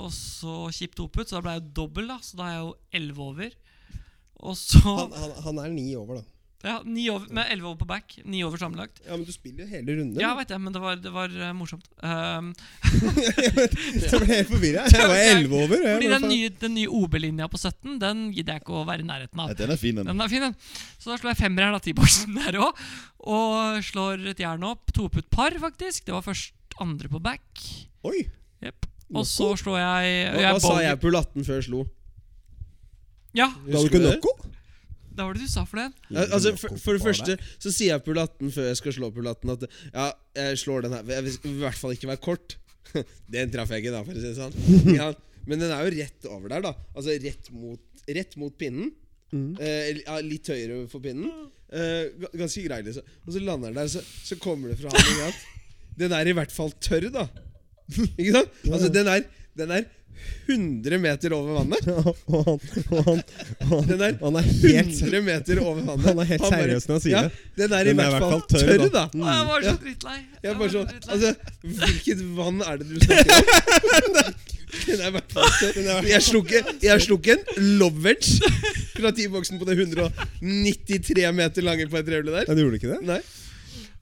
Speaker 1: og så kjipt opput. Så da ble jeg jo dobbel, da. Så da er jeg jo 11 over. Og så
Speaker 2: Han, han, han er ni over, da.
Speaker 1: Ja, ni over, med elleve over på back. Ni over sammenlagt.
Speaker 2: Ja, men du spiller jo hele runden.
Speaker 1: Ja, veit jeg, men det var, det var eh, morsomt. Ehm,
Speaker 2: jeg ble helt forvirra. Jeg var elleve over. og jeg
Speaker 1: fordi
Speaker 2: bare
Speaker 1: den
Speaker 2: faen-
Speaker 1: nye, den nye OB-linja på 17 Den gidder jeg ikke å være i nærheten
Speaker 4: Ja,
Speaker 1: av.
Speaker 4: den er fin, den.
Speaker 1: Den er fin, den. Så da slår jeg femmer her, da, T-boksen der òg. Og slår et jern opp. Toputt par, faktisk. Det var først andre på back.
Speaker 2: Oi!
Speaker 1: Jep. Og så slår jeg,
Speaker 3: Hva,
Speaker 1: jeg
Speaker 3: hva sa
Speaker 1: bowler-
Speaker 3: jeg på latten før jeg slo?
Speaker 1: Ja,
Speaker 2: Da har du ikke
Speaker 3: du det?
Speaker 2: knocko?
Speaker 1: da var det du sa for det.
Speaker 3: Ja, Altså, for, for det første så sier jeg på latten før jeg skal slå på latten at ja, jeg slår den her. Jeg vil i hvert fall ikke være kort. den traff jeg ikke, da, for å si det sånn. Ja, men den er jo rett over der, da. Altså rett mot, rett mot pinnen. Eh, eller, ja, litt høyere for pinnen. Eh, ga- ganske grei, liksom. Og så lander den der, så, så kommer det fra han ikke sant? Den er i hvert fall tørr, da. ikke sant? Altså, den er, den er 100 meter over vannet.
Speaker 2: og han, og han, og han,
Speaker 3: Den er
Speaker 2: han er helt
Speaker 3: 100 meter over vannet.
Speaker 2: Han er helt
Speaker 3: bare-
Speaker 2: seriøs når han sier
Speaker 3: ja,
Speaker 2: det.
Speaker 3: Den er i hvert fall tørr, da.
Speaker 1: Å, jeg var så
Speaker 3: Mm. Ja.
Speaker 1: drittlei.
Speaker 3: Jeg er
Speaker 1: var
Speaker 3: bare sånn,
Speaker 1: drittlei.
Speaker 3: altså, Hvilket vann er det du snakker om? Den er i hvert fall
Speaker 2: Den er i hvert
Speaker 3: tørr.
Speaker 2: fall-
Speaker 3: Jeg slo ikke jeg slo ikke en lovage fra T-boksen på det 193 meter lange på et trevle der.
Speaker 2: Ja, du gjorde ikke det?
Speaker 3: Nei.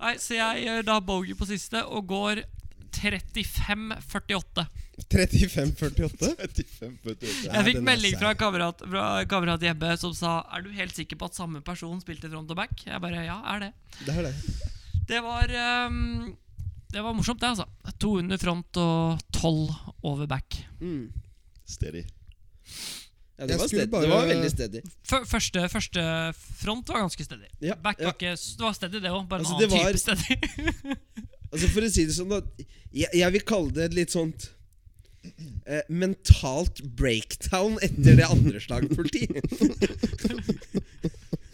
Speaker 1: Nei, så jeg gjør da bogey på siste og går 35-48.
Speaker 2: 35-48?
Speaker 4: 35, vet du.
Speaker 1: Jeg fikk
Speaker 2: den er
Speaker 1: melding
Speaker 2: seig.
Speaker 1: fra en kamerat, fra en kamerat hjemme som sa Er du helt sikker på at samme person spilte front og back? Jeg bare ja, er det.
Speaker 2: Det er det.
Speaker 1: Det var ehm, Det var morsomt, det, altså. 200 front og 12 over back.
Speaker 3: Mm.
Speaker 4: Stedig.
Speaker 3: Ja,
Speaker 2: Jeg
Speaker 3: det, var
Speaker 2: skulle
Speaker 3: steady.
Speaker 2: bare-
Speaker 3: det var veldig steady.
Speaker 1: Fø- Første, første front var ganske stedig.
Speaker 3: Ja,
Speaker 1: back
Speaker 3: ja.
Speaker 1: var ikke Det var stedig, det òg. Bare
Speaker 3: Altså,
Speaker 1: en
Speaker 3: det
Speaker 1: annen
Speaker 3: var-
Speaker 1: type stedig.
Speaker 3: Altså For å si det sånn, da. Jeg, jeg vil kalle det et litt sånt eh, mentalt breakdown etter det andre slaget politi.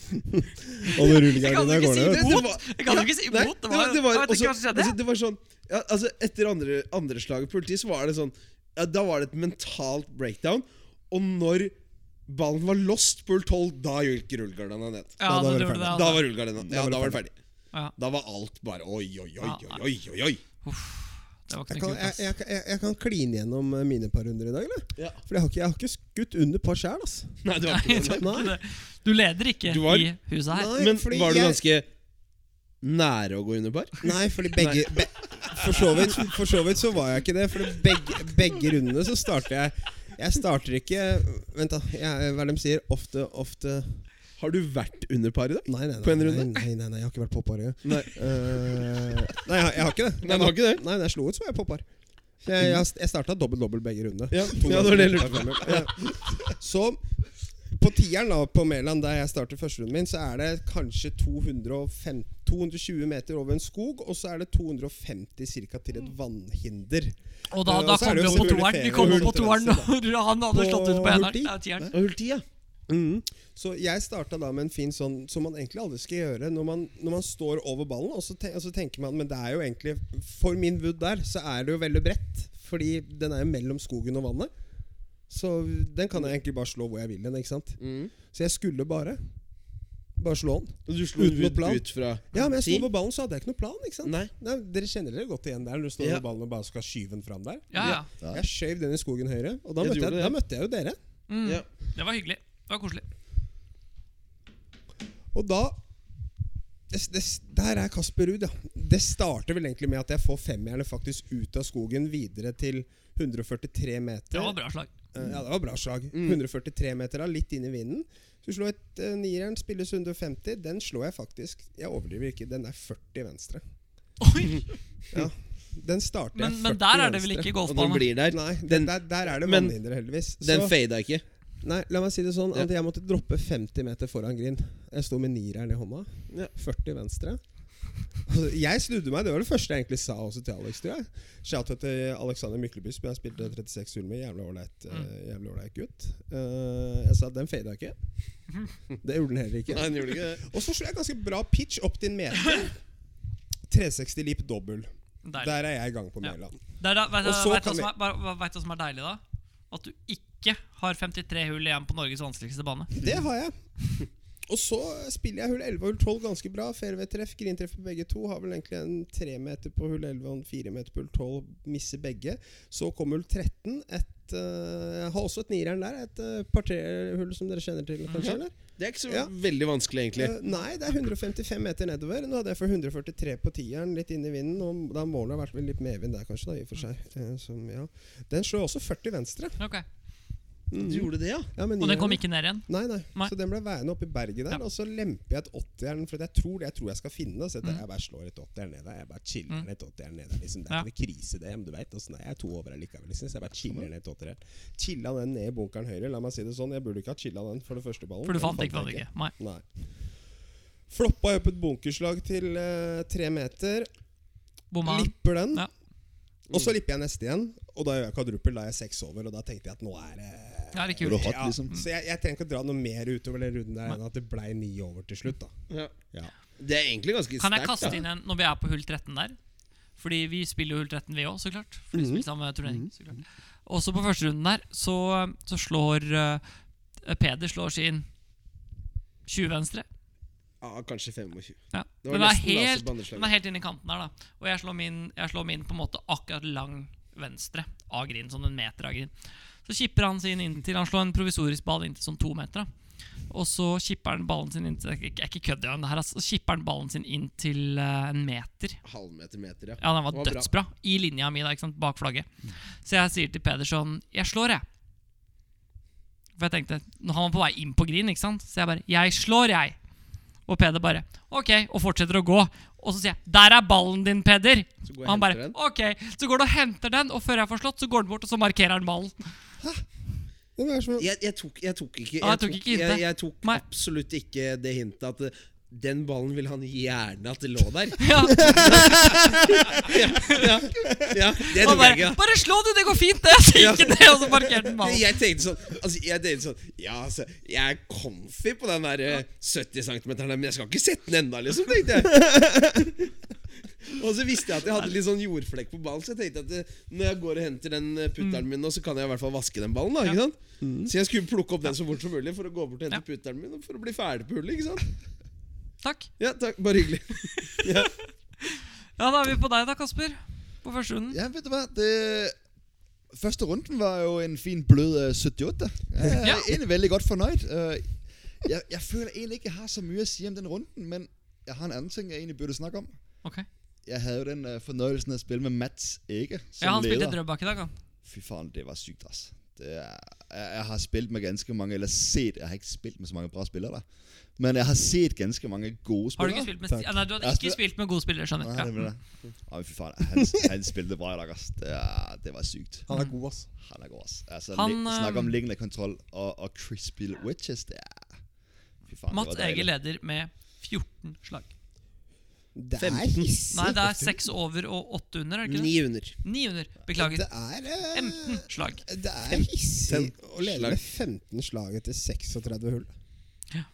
Speaker 2: Og når
Speaker 1: Jeg kan
Speaker 2: rullegardina
Speaker 1: jo ikke
Speaker 2: går
Speaker 1: si
Speaker 2: ned
Speaker 1: det.
Speaker 2: vet du.
Speaker 1: Imot? Jeg kan jo ikke si
Speaker 3: Nei,
Speaker 1: imot, det var-
Speaker 3: det var,
Speaker 1: jeg vet ikke
Speaker 3: også-
Speaker 1: hva som skjedde.
Speaker 3: Altså, det var sånn ja, altså, Etter andre, andre slaget politi, så var det sånn ja, Da var det et mentalt breakdown. Og når ballen var lost på hull 12, da gikk rullegardina ned.
Speaker 1: Ja,
Speaker 2: da
Speaker 1: da,
Speaker 2: var det
Speaker 1: gjorde det,
Speaker 2: ferdig.
Speaker 1: altså.
Speaker 3: Da var rullegardina
Speaker 2: Da
Speaker 3: ja,
Speaker 2: var det
Speaker 3: da var det ferdig.
Speaker 1: Ja.
Speaker 3: Da var alt bare oi, oi, oi,
Speaker 1: Ja,
Speaker 3: oi, oi, oi, oi.
Speaker 1: Det var ikke
Speaker 2: Jeg
Speaker 1: noe
Speaker 2: kan,
Speaker 1: kult, altså.
Speaker 2: jeg,
Speaker 1: ass.
Speaker 2: jeg, jeg, jeg kan kline gjennom eh, mine par runder i dag, eller?
Speaker 3: Ja.
Speaker 2: For jeg har ikke, jeg har ikke skutt under par sjæl, ass.
Speaker 3: Nei, det var ikke det.
Speaker 1: Nei, det- Du leder ikke
Speaker 3: Du var-
Speaker 1: i huset her.
Speaker 2: Nei,
Speaker 3: Men
Speaker 2: fordi
Speaker 3: var du
Speaker 2: jeg-
Speaker 3: ganske nære å gå under par?
Speaker 2: Nei, fordi begge be, for, så vidt, for så vidt så var jeg ikke det. For begge, begge rundene så starter jeg Jeg starter ikke Vent, da. Jeg, hva er det de sier? Ofte, ofte
Speaker 3: Har du vært under par i dag?
Speaker 2: Nei, nei, nei.
Speaker 3: På en
Speaker 2: nei,
Speaker 3: runde?
Speaker 2: Nei, nei, nei, jeg har ikke vært på par engang.
Speaker 3: Nei.
Speaker 2: Eh, nei, jeg, jeg har ikke det.
Speaker 3: Nei, du har ikke det?
Speaker 2: Nei, da jeg slo ut, så var jeg på par. Så Jeg, jeg, jeg starta dobbelt-dobbelt begge rundene.
Speaker 3: Ja, ja det var det jeg lurte på.
Speaker 2: Ja. Så på tieren da, på Mæland, der jeg starter førsterunden min, så er det kanskje 205, 220 meter over en skog, og så er det 250 cirka til et vannhinder.
Speaker 1: Og da,
Speaker 2: Eh,
Speaker 1: da
Speaker 2: og så er
Speaker 1: kom vi
Speaker 2: det jo
Speaker 1: opp på
Speaker 2: selvfølgelig
Speaker 1: toeren. Vi
Speaker 2: ferie
Speaker 1: kom
Speaker 2: og
Speaker 1: opp på toeren
Speaker 2: hull
Speaker 1: når han hadde
Speaker 2: På
Speaker 1: slått ut på eneren.
Speaker 2: hull ti?
Speaker 1: Ja, tieren.
Speaker 3: Og hull 10, ja. Mm.
Speaker 2: Så jeg starta da med en fin sånn som man egentlig aldri skal gjøre når man, når man står over ballen. Og så, ten, og så tenker man Men det er jo egentlig For min wood der, så er det jo veldig bredt. Fordi den er jo mellom skogen og vannet. Så den kan jeg egentlig bare slå hvor jeg vil den. ikke sant?
Speaker 3: Mm.
Speaker 2: Så jeg skulle bare Bare slå den.
Speaker 3: Og du slo
Speaker 2: Uten noe
Speaker 3: ut,
Speaker 2: plan.
Speaker 3: ut fra
Speaker 2: Ja, men jeg sto
Speaker 3: ti?
Speaker 2: over ballen, så hadde jeg ikke noen plan. ikke sant?
Speaker 3: Nei.
Speaker 2: Dere kjenner dere godt igjen der når du står
Speaker 3: Ja.
Speaker 2: over ballen og bare skal skyve den fram der.
Speaker 1: Ja, ja.
Speaker 4: Ja.
Speaker 2: Jeg skjøv den i skogen høyre, og da,
Speaker 3: Ja, du
Speaker 2: møtte jeg,
Speaker 3: gjorde det,
Speaker 2: da
Speaker 3: ja.
Speaker 2: møtte jeg jo dere.
Speaker 1: Mm.
Speaker 3: Ja.
Speaker 1: Det var hyggelig. Det var koselig.
Speaker 2: Og da det, det, Der er Kasper Ruud, ja. Det starter vel egentlig med at jeg får femmerne faktisk ut av skogen videre til 143 meter.
Speaker 1: Det var bra slag.
Speaker 2: Eh, Ja, det var bra slag.
Speaker 3: Mm.
Speaker 2: 143 meter, da, litt inn i vinden. Så slo jeg et eh, nieren, spilles 150. Den slår jeg faktisk Jeg overdriver ikke, den er 40 venstre.
Speaker 1: Oi,
Speaker 2: Ja, Den starter jeg
Speaker 1: men,
Speaker 2: 40
Speaker 1: men der er det vel
Speaker 2: venstre.
Speaker 1: ikke
Speaker 3: Og når den
Speaker 1: golfbane?
Speaker 3: blir der
Speaker 2: Nei, den,
Speaker 3: den-
Speaker 2: der, der er det
Speaker 3: men-
Speaker 2: vannhinder, heldigvis.
Speaker 3: Den
Speaker 2: Så,
Speaker 3: fada ikke.
Speaker 2: nei, la meg si det sånn
Speaker 3: Ja.
Speaker 2: at jeg måtte droppe 50 meter foran green. Jeg sto med nireren i hånda.
Speaker 3: Ja.
Speaker 2: 40 venstre. Altså, jeg snudde meg. Det var det første jeg egentlig sa også til Alex. tror jeg Shout-out til Alexander Mykleby, som jeg spilte 36 hull med. Jævlig ålreit
Speaker 3: Mm.
Speaker 2: eh, jævlig ålreit gutt. Eh, jeg sa den fada ikke. Det gjorde den heller ikke.
Speaker 3: Nei, den gjorde ikke det.
Speaker 2: Og så slo jeg ganske bra pitch opp til en meter. 360 leap dobbel.
Speaker 1: Deilig.
Speaker 2: Der er jeg i gang på
Speaker 1: Ja.
Speaker 2: Mæland.
Speaker 1: Det er da- Vet du
Speaker 2: Og så
Speaker 1: vet du hva som
Speaker 2: kan vi-
Speaker 1: er- bare- hva- vet du hva som er deilig, da? At du ikke har 53 hull igjen på Norges vanskeligste bane.
Speaker 2: Det har jeg. Og så spiller jeg hull 11 og hull 12 ganske bra. Fairway-treff, grintreff på begge to. Har vel egentlig en tre meter på hull 11 og en fire meter på hull 12. Misser begge. Så kom hull 13. Et et eh, Jeg har også et nireren der. Et eh, partrehull som dere kjenner til, kanskje? eller?
Speaker 3: Det er ikke så
Speaker 2: Ja.
Speaker 3: veldig vanskelig, egentlig.
Speaker 2: Eh, nei, det er 155 meter nedover. Nå hadde jeg for 143 på tieren, litt inn i vinden. Og da må det ha vært vel litt medvind der, kanskje. da, i og for seg Eh, som, ja. Den slår også 40 venstre.
Speaker 1: Ok.
Speaker 3: Du gjorde det, ja?
Speaker 2: Ja, men
Speaker 1: Og den
Speaker 2: nireren-
Speaker 1: kom ikke ned igjen?
Speaker 2: Nei, nei,
Speaker 1: Nei.
Speaker 2: Så den ble værende oppe i berget der.
Speaker 1: Ja.
Speaker 2: Og så lemper jeg et 80-jern, for jeg tror det jeg tror jeg skal finne. Så jeg,
Speaker 1: Mm.
Speaker 2: jeg bare slår et 80-jern ned der. Jeg bare chiller
Speaker 1: Mm.
Speaker 2: ned et 80-jern ned der. Liksom, det er
Speaker 1: Ja.
Speaker 2: ikke noe krise, det. Men du vet, åssen det er. Jeg er to over her likevel. Liksom, så jeg bare chiller ned et 80-jern. Chilla den ned i bunkeren høyre. La meg si det sånn. Jeg burde ikke ha chilla den for det første ballen.
Speaker 1: For du
Speaker 2: Den
Speaker 1: fant ikke
Speaker 2: jeg
Speaker 1: hva det ikke? Nei.
Speaker 2: Nei. Floppa opp et bunkerslag til eh, tre meter.
Speaker 1: Bomma han?
Speaker 2: Lipper den.
Speaker 1: Ja.
Speaker 2: Og så lipper jeg neste igjen, og da gjør jeg kvadruppel. Da er jeg seks over, og da tenkte jeg at nå er det
Speaker 1: Ja, det er
Speaker 4: Var du
Speaker 1: kult.
Speaker 4: hot,
Speaker 2: ja,
Speaker 4: liksom?
Speaker 2: Så jeg, jeg trenger ikke å dra noe mer utover den runden der enn at det blei ni over til slutt. da
Speaker 3: ja.
Speaker 2: Ja.
Speaker 3: Det er egentlig ganske
Speaker 1: Kan jeg
Speaker 3: sterkt,
Speaker 1: kaste
Speaker 3: da.
Speaker 1: inn en når vi er på hull 13 der? Fordi vi spiller jo hull 13, vi òg, så klart. For
Speaker 2: Mhm.
Speaker 1: vi spiller samme turnering, så klart. Også på første runden der så, så slår eh, Peder slår sin 20 venstre.
Speaker 3: Ja, kanskje 25.
Speaker 1: Ja.
Speaker 3: Det var
Speaker 1: Men den er,
Speaker 3: nesten laser
Speaker 1: helt,
Speaker 3: på andre slaget.
Speaker 1: den er helt inn i kanten der, da. Og jeg slår min, jeg slår min på en måte akkurat lang venstre av grind, sånn en meter av grind. Så kipper han sin inntil Han slår en provisorisk ball inntil sånn to meter. da Og så kipper han ballen sin inntil Jeg er ikke kødd, jeg, det her, altså. Så kipper han ballen sin inntil eh, en meter.
Speaker 3: Halvmeter, meter, ja.
Speaker 1: Ja, den var,
Speaker 3: Den var bra. Mm.
Speaker 1: dødsbra. I linja mi, da, ikke sant, bak flagget. Så jeg sier til Pedersen Jeg slår, jeg. For jeg tenkte nå- Han var på vei inn på green, ikke sant? Så jeg bare Jeg slår, jeg. Og Peder bare OK, og fortsetter å gå. Og så sier jeg Der er ballen din, Peder.
Speaker 3: Så går
Speaker 1: Og han
Speaker 3: jeg og henter
Speaker 1: bare
Speaker 3: den.
Speaker 1: OK. Så går du og henter den, og før jeg får slått, så går den bort, og så markerer han ballen.
Speaker 2: Det er som,
Speaker 3: Jeg, jeg, tok, jeg tok ikke
Speaker 1: Ja, jeg tok ikke hintet.
Speaker 3: Jeg, jeg tok
Speaker 1: Nei.
Speaker 3: absolutt ikke det hintet at eh, den ballen ville han gjerne at det lå der.
Speaker 1: Ja,
Speaker 3: Ja, ja Det
Speaker 1: og
Speaker 3: tok jeg
Speaker 1: bare,
Speaker 3: ikke. da.
Speaker 1: bare slå, du. Det går fint, det. Så
Speaker 3: Ja.
Speaker 1: gikk det, og så markerte han ballen.
Speaker 3: Jeg tenkte sånn altså, Jeg tenkte sånn Ja, altså, jeg er comfy på den der eh, 70 cm, men jeg skal ikke sette den ennå, liksom, tenkte jeg. Og så visste jeg at jeg hadde litt sånn jordflekk på ballen, så jeg tenkte at eh, når jeg går og henter den eh, putteren min nå, så kan jeg i hvert fall vaske den ballen, da. ikke sant? Så jeg skulle plukke opp den så fort som mulig for å gå bort og hente putteren min, og for å bli ferdig på hullet, ikke sant?
Speaker 1: Takk.
Speaker 3: Ja, takk. Bare hyggelig.
Speaker 1: Ja, da er vi på deg da, Kasper. På første runden.
Speaker 4: Ja, vet du hva? Det Første runden var jo en fin, blød eh, 78. Jeg er
Speaker 1: Ja.
Speaker 4: egentlig veldig godt fornøyd. Eh, Jeg, jeg føler egentlig ikke jeg har så mye å si om den runden, men jeg har en annen ting jeg egentlig burde snakke om.
Speaker 1: Ok.
Speaker 4: Jeg hadde jo den eh, fornøyelsen av å spille med Mats Ege som
Speaker 1: Ja, han spilte
Speaker 4: leder.
Speaker 1: Drøbak i dag, han.
Speaker 4: Fy faen, det var sykt, ass. Det er, jeg, jeg har spilt med ganske mange Eller set Jeg har ikke spilt med så mange bra spillere, da. Men jeg har set ganske mange gode
Speaker 1: Har
Speaker 4: spillere.
Speaker 1: du ikke spilt med
Speaker 2: Takk.
Speaker 1: ja, Nei, du hadde
Speaker 4: Jeg
Speaker 1: ikke
Speaker 4: spil-
Speaker 1: spilt med gode spillere, skjønner
Speaker 4: Nei, det
Speaker 1: jeg.
Speaker 4: var
Speaker 1: Ja.
Speaker 4: det. Oi, fy faen, han, han spilte bra i dag, ass. Det, er, det var sykt.
Speaker 2: han er god, ass.
Speaker 4: Han er god, ass. Altså,
Speaker 1: Han, um,
Speaker 4: li- Snakk om
Speaker 1: øhm,
Speaker 4: liggende kontroll og, og crispy witches. Det er Fy faen,
Speaker 1: Mats
Speaker 4: det var
Speaker 1: Ege
Speaker 4: deilig.
Speaker 1: leder med 14 slag.
Speaker 2: Det er hissig.
Speaker 1: Nei, det er 6 over og 8 under, er det ikke det?
Speaker 3: Ni under.
Speaker 1: 9 under. Beklager.
Speaker 2: Det er, eh,
Speaker 1: 15 slag.
Speaker 2: det er hissig å lede
Speaker 3: slag.
Speaker 2: med 15 slag etter 36 hull.
Speaker 1: Ja.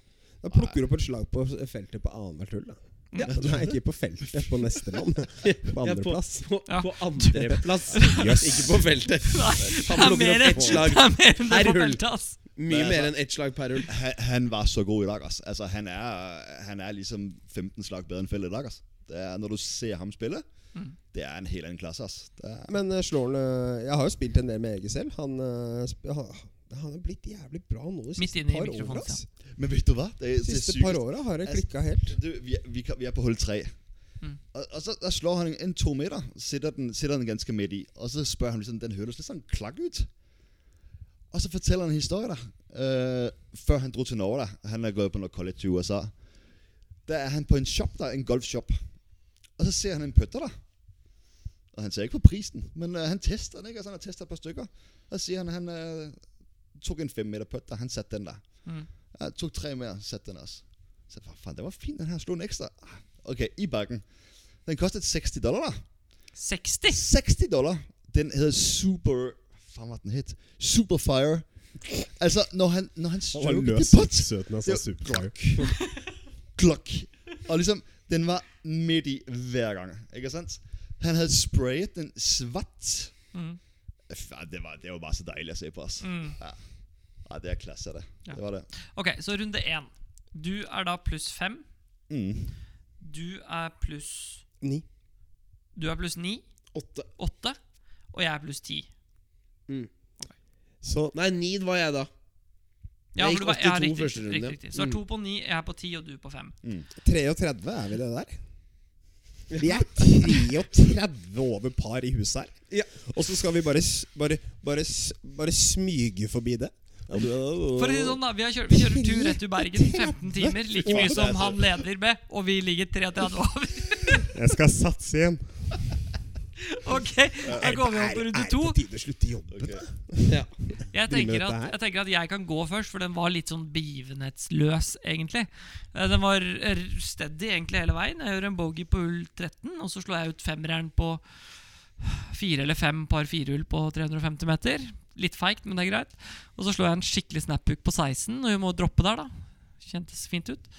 Speaker 2: Da plukker du opp et slag på feltet på annethvert hull. da Nei, ikke på feltet, på nestemann. På
Speaker 3: Ja, på,
Speaker 2: andreplass.
Speaker 3: på,
Speaker 1: Ja.
Speaker 3: på andreplass. Ikke på feltet.
Speaker 1: Det
Speaker 3: Han
Speaker 1: er
Speaker 3: plukker
Speaker 1: mer
Speaker 3: opp
Speaker 1: det
Speaker 3: ett slag.
Speaker 1: er mer enn det
Speaker 3: Per
Speaker 1: på
Speaker 3: hull.
Speaker 1: feltet, ass.
Speaker 3: Mye mer enn ett slag per hull.
Speaker 4: Han, han var så god i dag, ass. Altså, han, er, han er liksom 15 slag bedre enn Phil i dag, ass. Det er, når du ser ham spille,
Speaker 1: Mm.
Speaker 4: det er en helt annen klasse, ass. Det er,
Speaker 2: Men eh, slår han eh, Jeg har jo spilt en del med Ege selv. Han, eh, sp- han, han er blitt jævlig bra nå de
Speaker 1: Midt
Speaker 2: siste
Speaker 1: inn i
Speaker 2: par
Speaker 1: mikrofonen,
Speaker 2: åra. ass.
Speaker 4: men vet du hva? Det,
Speaker 2: De
Speaker 4: det
Speaker 2: siste
Speaker 4: sykeste-
Speaker 2: par åra har det
Speaker 4: Altså,
Speaker 2: klikka helt.
Speaker 4: Du, vi, er- vi, kan- vi er på hul tre.
Speaker 1: Mm.
Speaker 4: Og, og så der slår han en to meter, sætter den, sætter den ganske midt i, og så spørger han liksom, den høres lidt sådan klak ud. Og så fortæller han en historie der, øh, før han drog til Norge der. Han er gået på noget college i USA. Der er han på en shop der, en golfshop. Og så ser han en pøtter der. Og han ser ikke på prisen, men øh, han tester den, ikke? Og så han har testet et par stykker. Og så siger han, han øh, tog en 5 meter pøtter, han satte den der.
Speaker 1: Mm.
Speaker 4: Ja, tok tre mere, satte den også. Så jeg, faen, det var fint, den her slog en ekstra. Ah, Okay, i bakken. Den kostede 60 dollar. da.
Speaker 1: 60!
Speaker 4: 60 dollar. Den hedder Super... Faen, var den hed? Superfire. Altså, når han, når han strokede det putt,
Speaker 2: søten,
Speaker 4: Det- klok. Og ligesom, den var midt i hver gang, ikke sant? Han havde sprayet den svart.
Speaker 1: Mm.
Speaker 4: Faen, det var, det var bare så dejligt at se på os.
Speaker 1: Mm.
Speaker 4: Ej, det er klasse, det.
Speaker 1: Ja.
Speaker 4: Det var det.
Speaker 1: Ok, så runde 1. Du er da pluss 5.
Speaker 4: Mm.
Speaker 1: Du er pluss
Speaker 2: Ni.
Speaker 1: Du er pluss 9.
Speaker 3: Åtte.
Speaker 1: 8. Og jeg er pluss 10.
Speaker 2: Så
Speaker 3: Nei, Need var jeg da.
Speaker 1: Ja,
Speaker 3: Jeg
Speaker 1: for du
Speaker 3: gikk
Speaker 1: var, ja,
Speaker 3: 82
Speaker 1: riktig,
Speaker 3: første runde,
Speaker 1: riktig,
Speaker 3: ja.
Speaker 1: riktig. Så det er to på ni, jeg er på ti, og du på fem.
Speaker 2: 33, er vi det der? Vi er 33 over par i huset her.
Speaker 3: Ja.
Speaker 2: Og så skal vi bare, s- bare, bare, s- bare smyge forbi det.
Speaker 1: For å si det sånn da, vi, har kjørt, vi kjører tur rett til Bergen 15 timer, like mye som han leder med, og vi ligger 33 over.
Speaker 2: Jeg skal satse igjen.
Speaker 1: Ok, da går vi opp på runde to.
Speaker 2: Er det på tide å slutte å jobbe?
Speaker 4: Ok.
Speaker 3: Ja.
Speaker 1: Jeg
Speaker 2: Bli med
Speaker 1: tenker,
Speaker 2: dette
Speaker 1: at,
Speaker 2: her.
Speaker 1: jeg tenker at jeg kan gå først, for den var litt sånn begivenhetsløs, egentlig. Eh, Den var r- steady egentlig hele veien. Jeg gjør en bogey på hull 13, og så slår jeg ut femmeren på fire eller fem par firehull på 350 meter. Litt feigt, men det er greit. Og så slår jeg en skikkelig snaphook på 16, og hun må droppe der, da. Kjentes fint ut.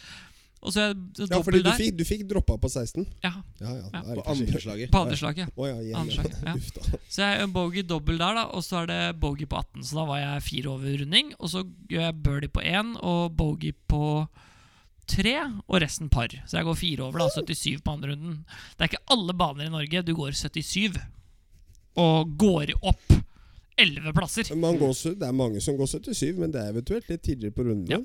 Speaker 1: Og så er det
Speaker 2: Ja,
Speaker 1: dobbel
Speaker 2: fordi du
Speaker 1: der.
Speaker 2: fikk, du fikk droppa på 16?
Speaker 1: Ja,
Speaker 2: Ja, ja.
Speaker 1: Ja.
Speaker 2: da er
Speaker 3: På
Speaker 2: det kanskje-
Speaker 3: andre slaget.
Speaker 1: på andre slaget.
Speaker 2: Å ja, ja,
Speaker 1: Andre
Speaker 2: ja.
Speaker 1: slaget, ja.
Speaker 2: Uff da.
Speaker 1: Så jeg gjør en bogey dobbel der, da, og så er det bogey på 18. Så da var jeg fire over runding. Og så gjør jeg birdie på én og bogey på tre, og resten par. Så jeg går fire over, da. 77 på andre runden. Det er ikke alle baner i Norge du går 77 og går opp 11 plasser.
Speaker 2: Man går, så- det er mange som går 77, men det er eventuelt litt tidligere på runden.
Speaker 1: Ja.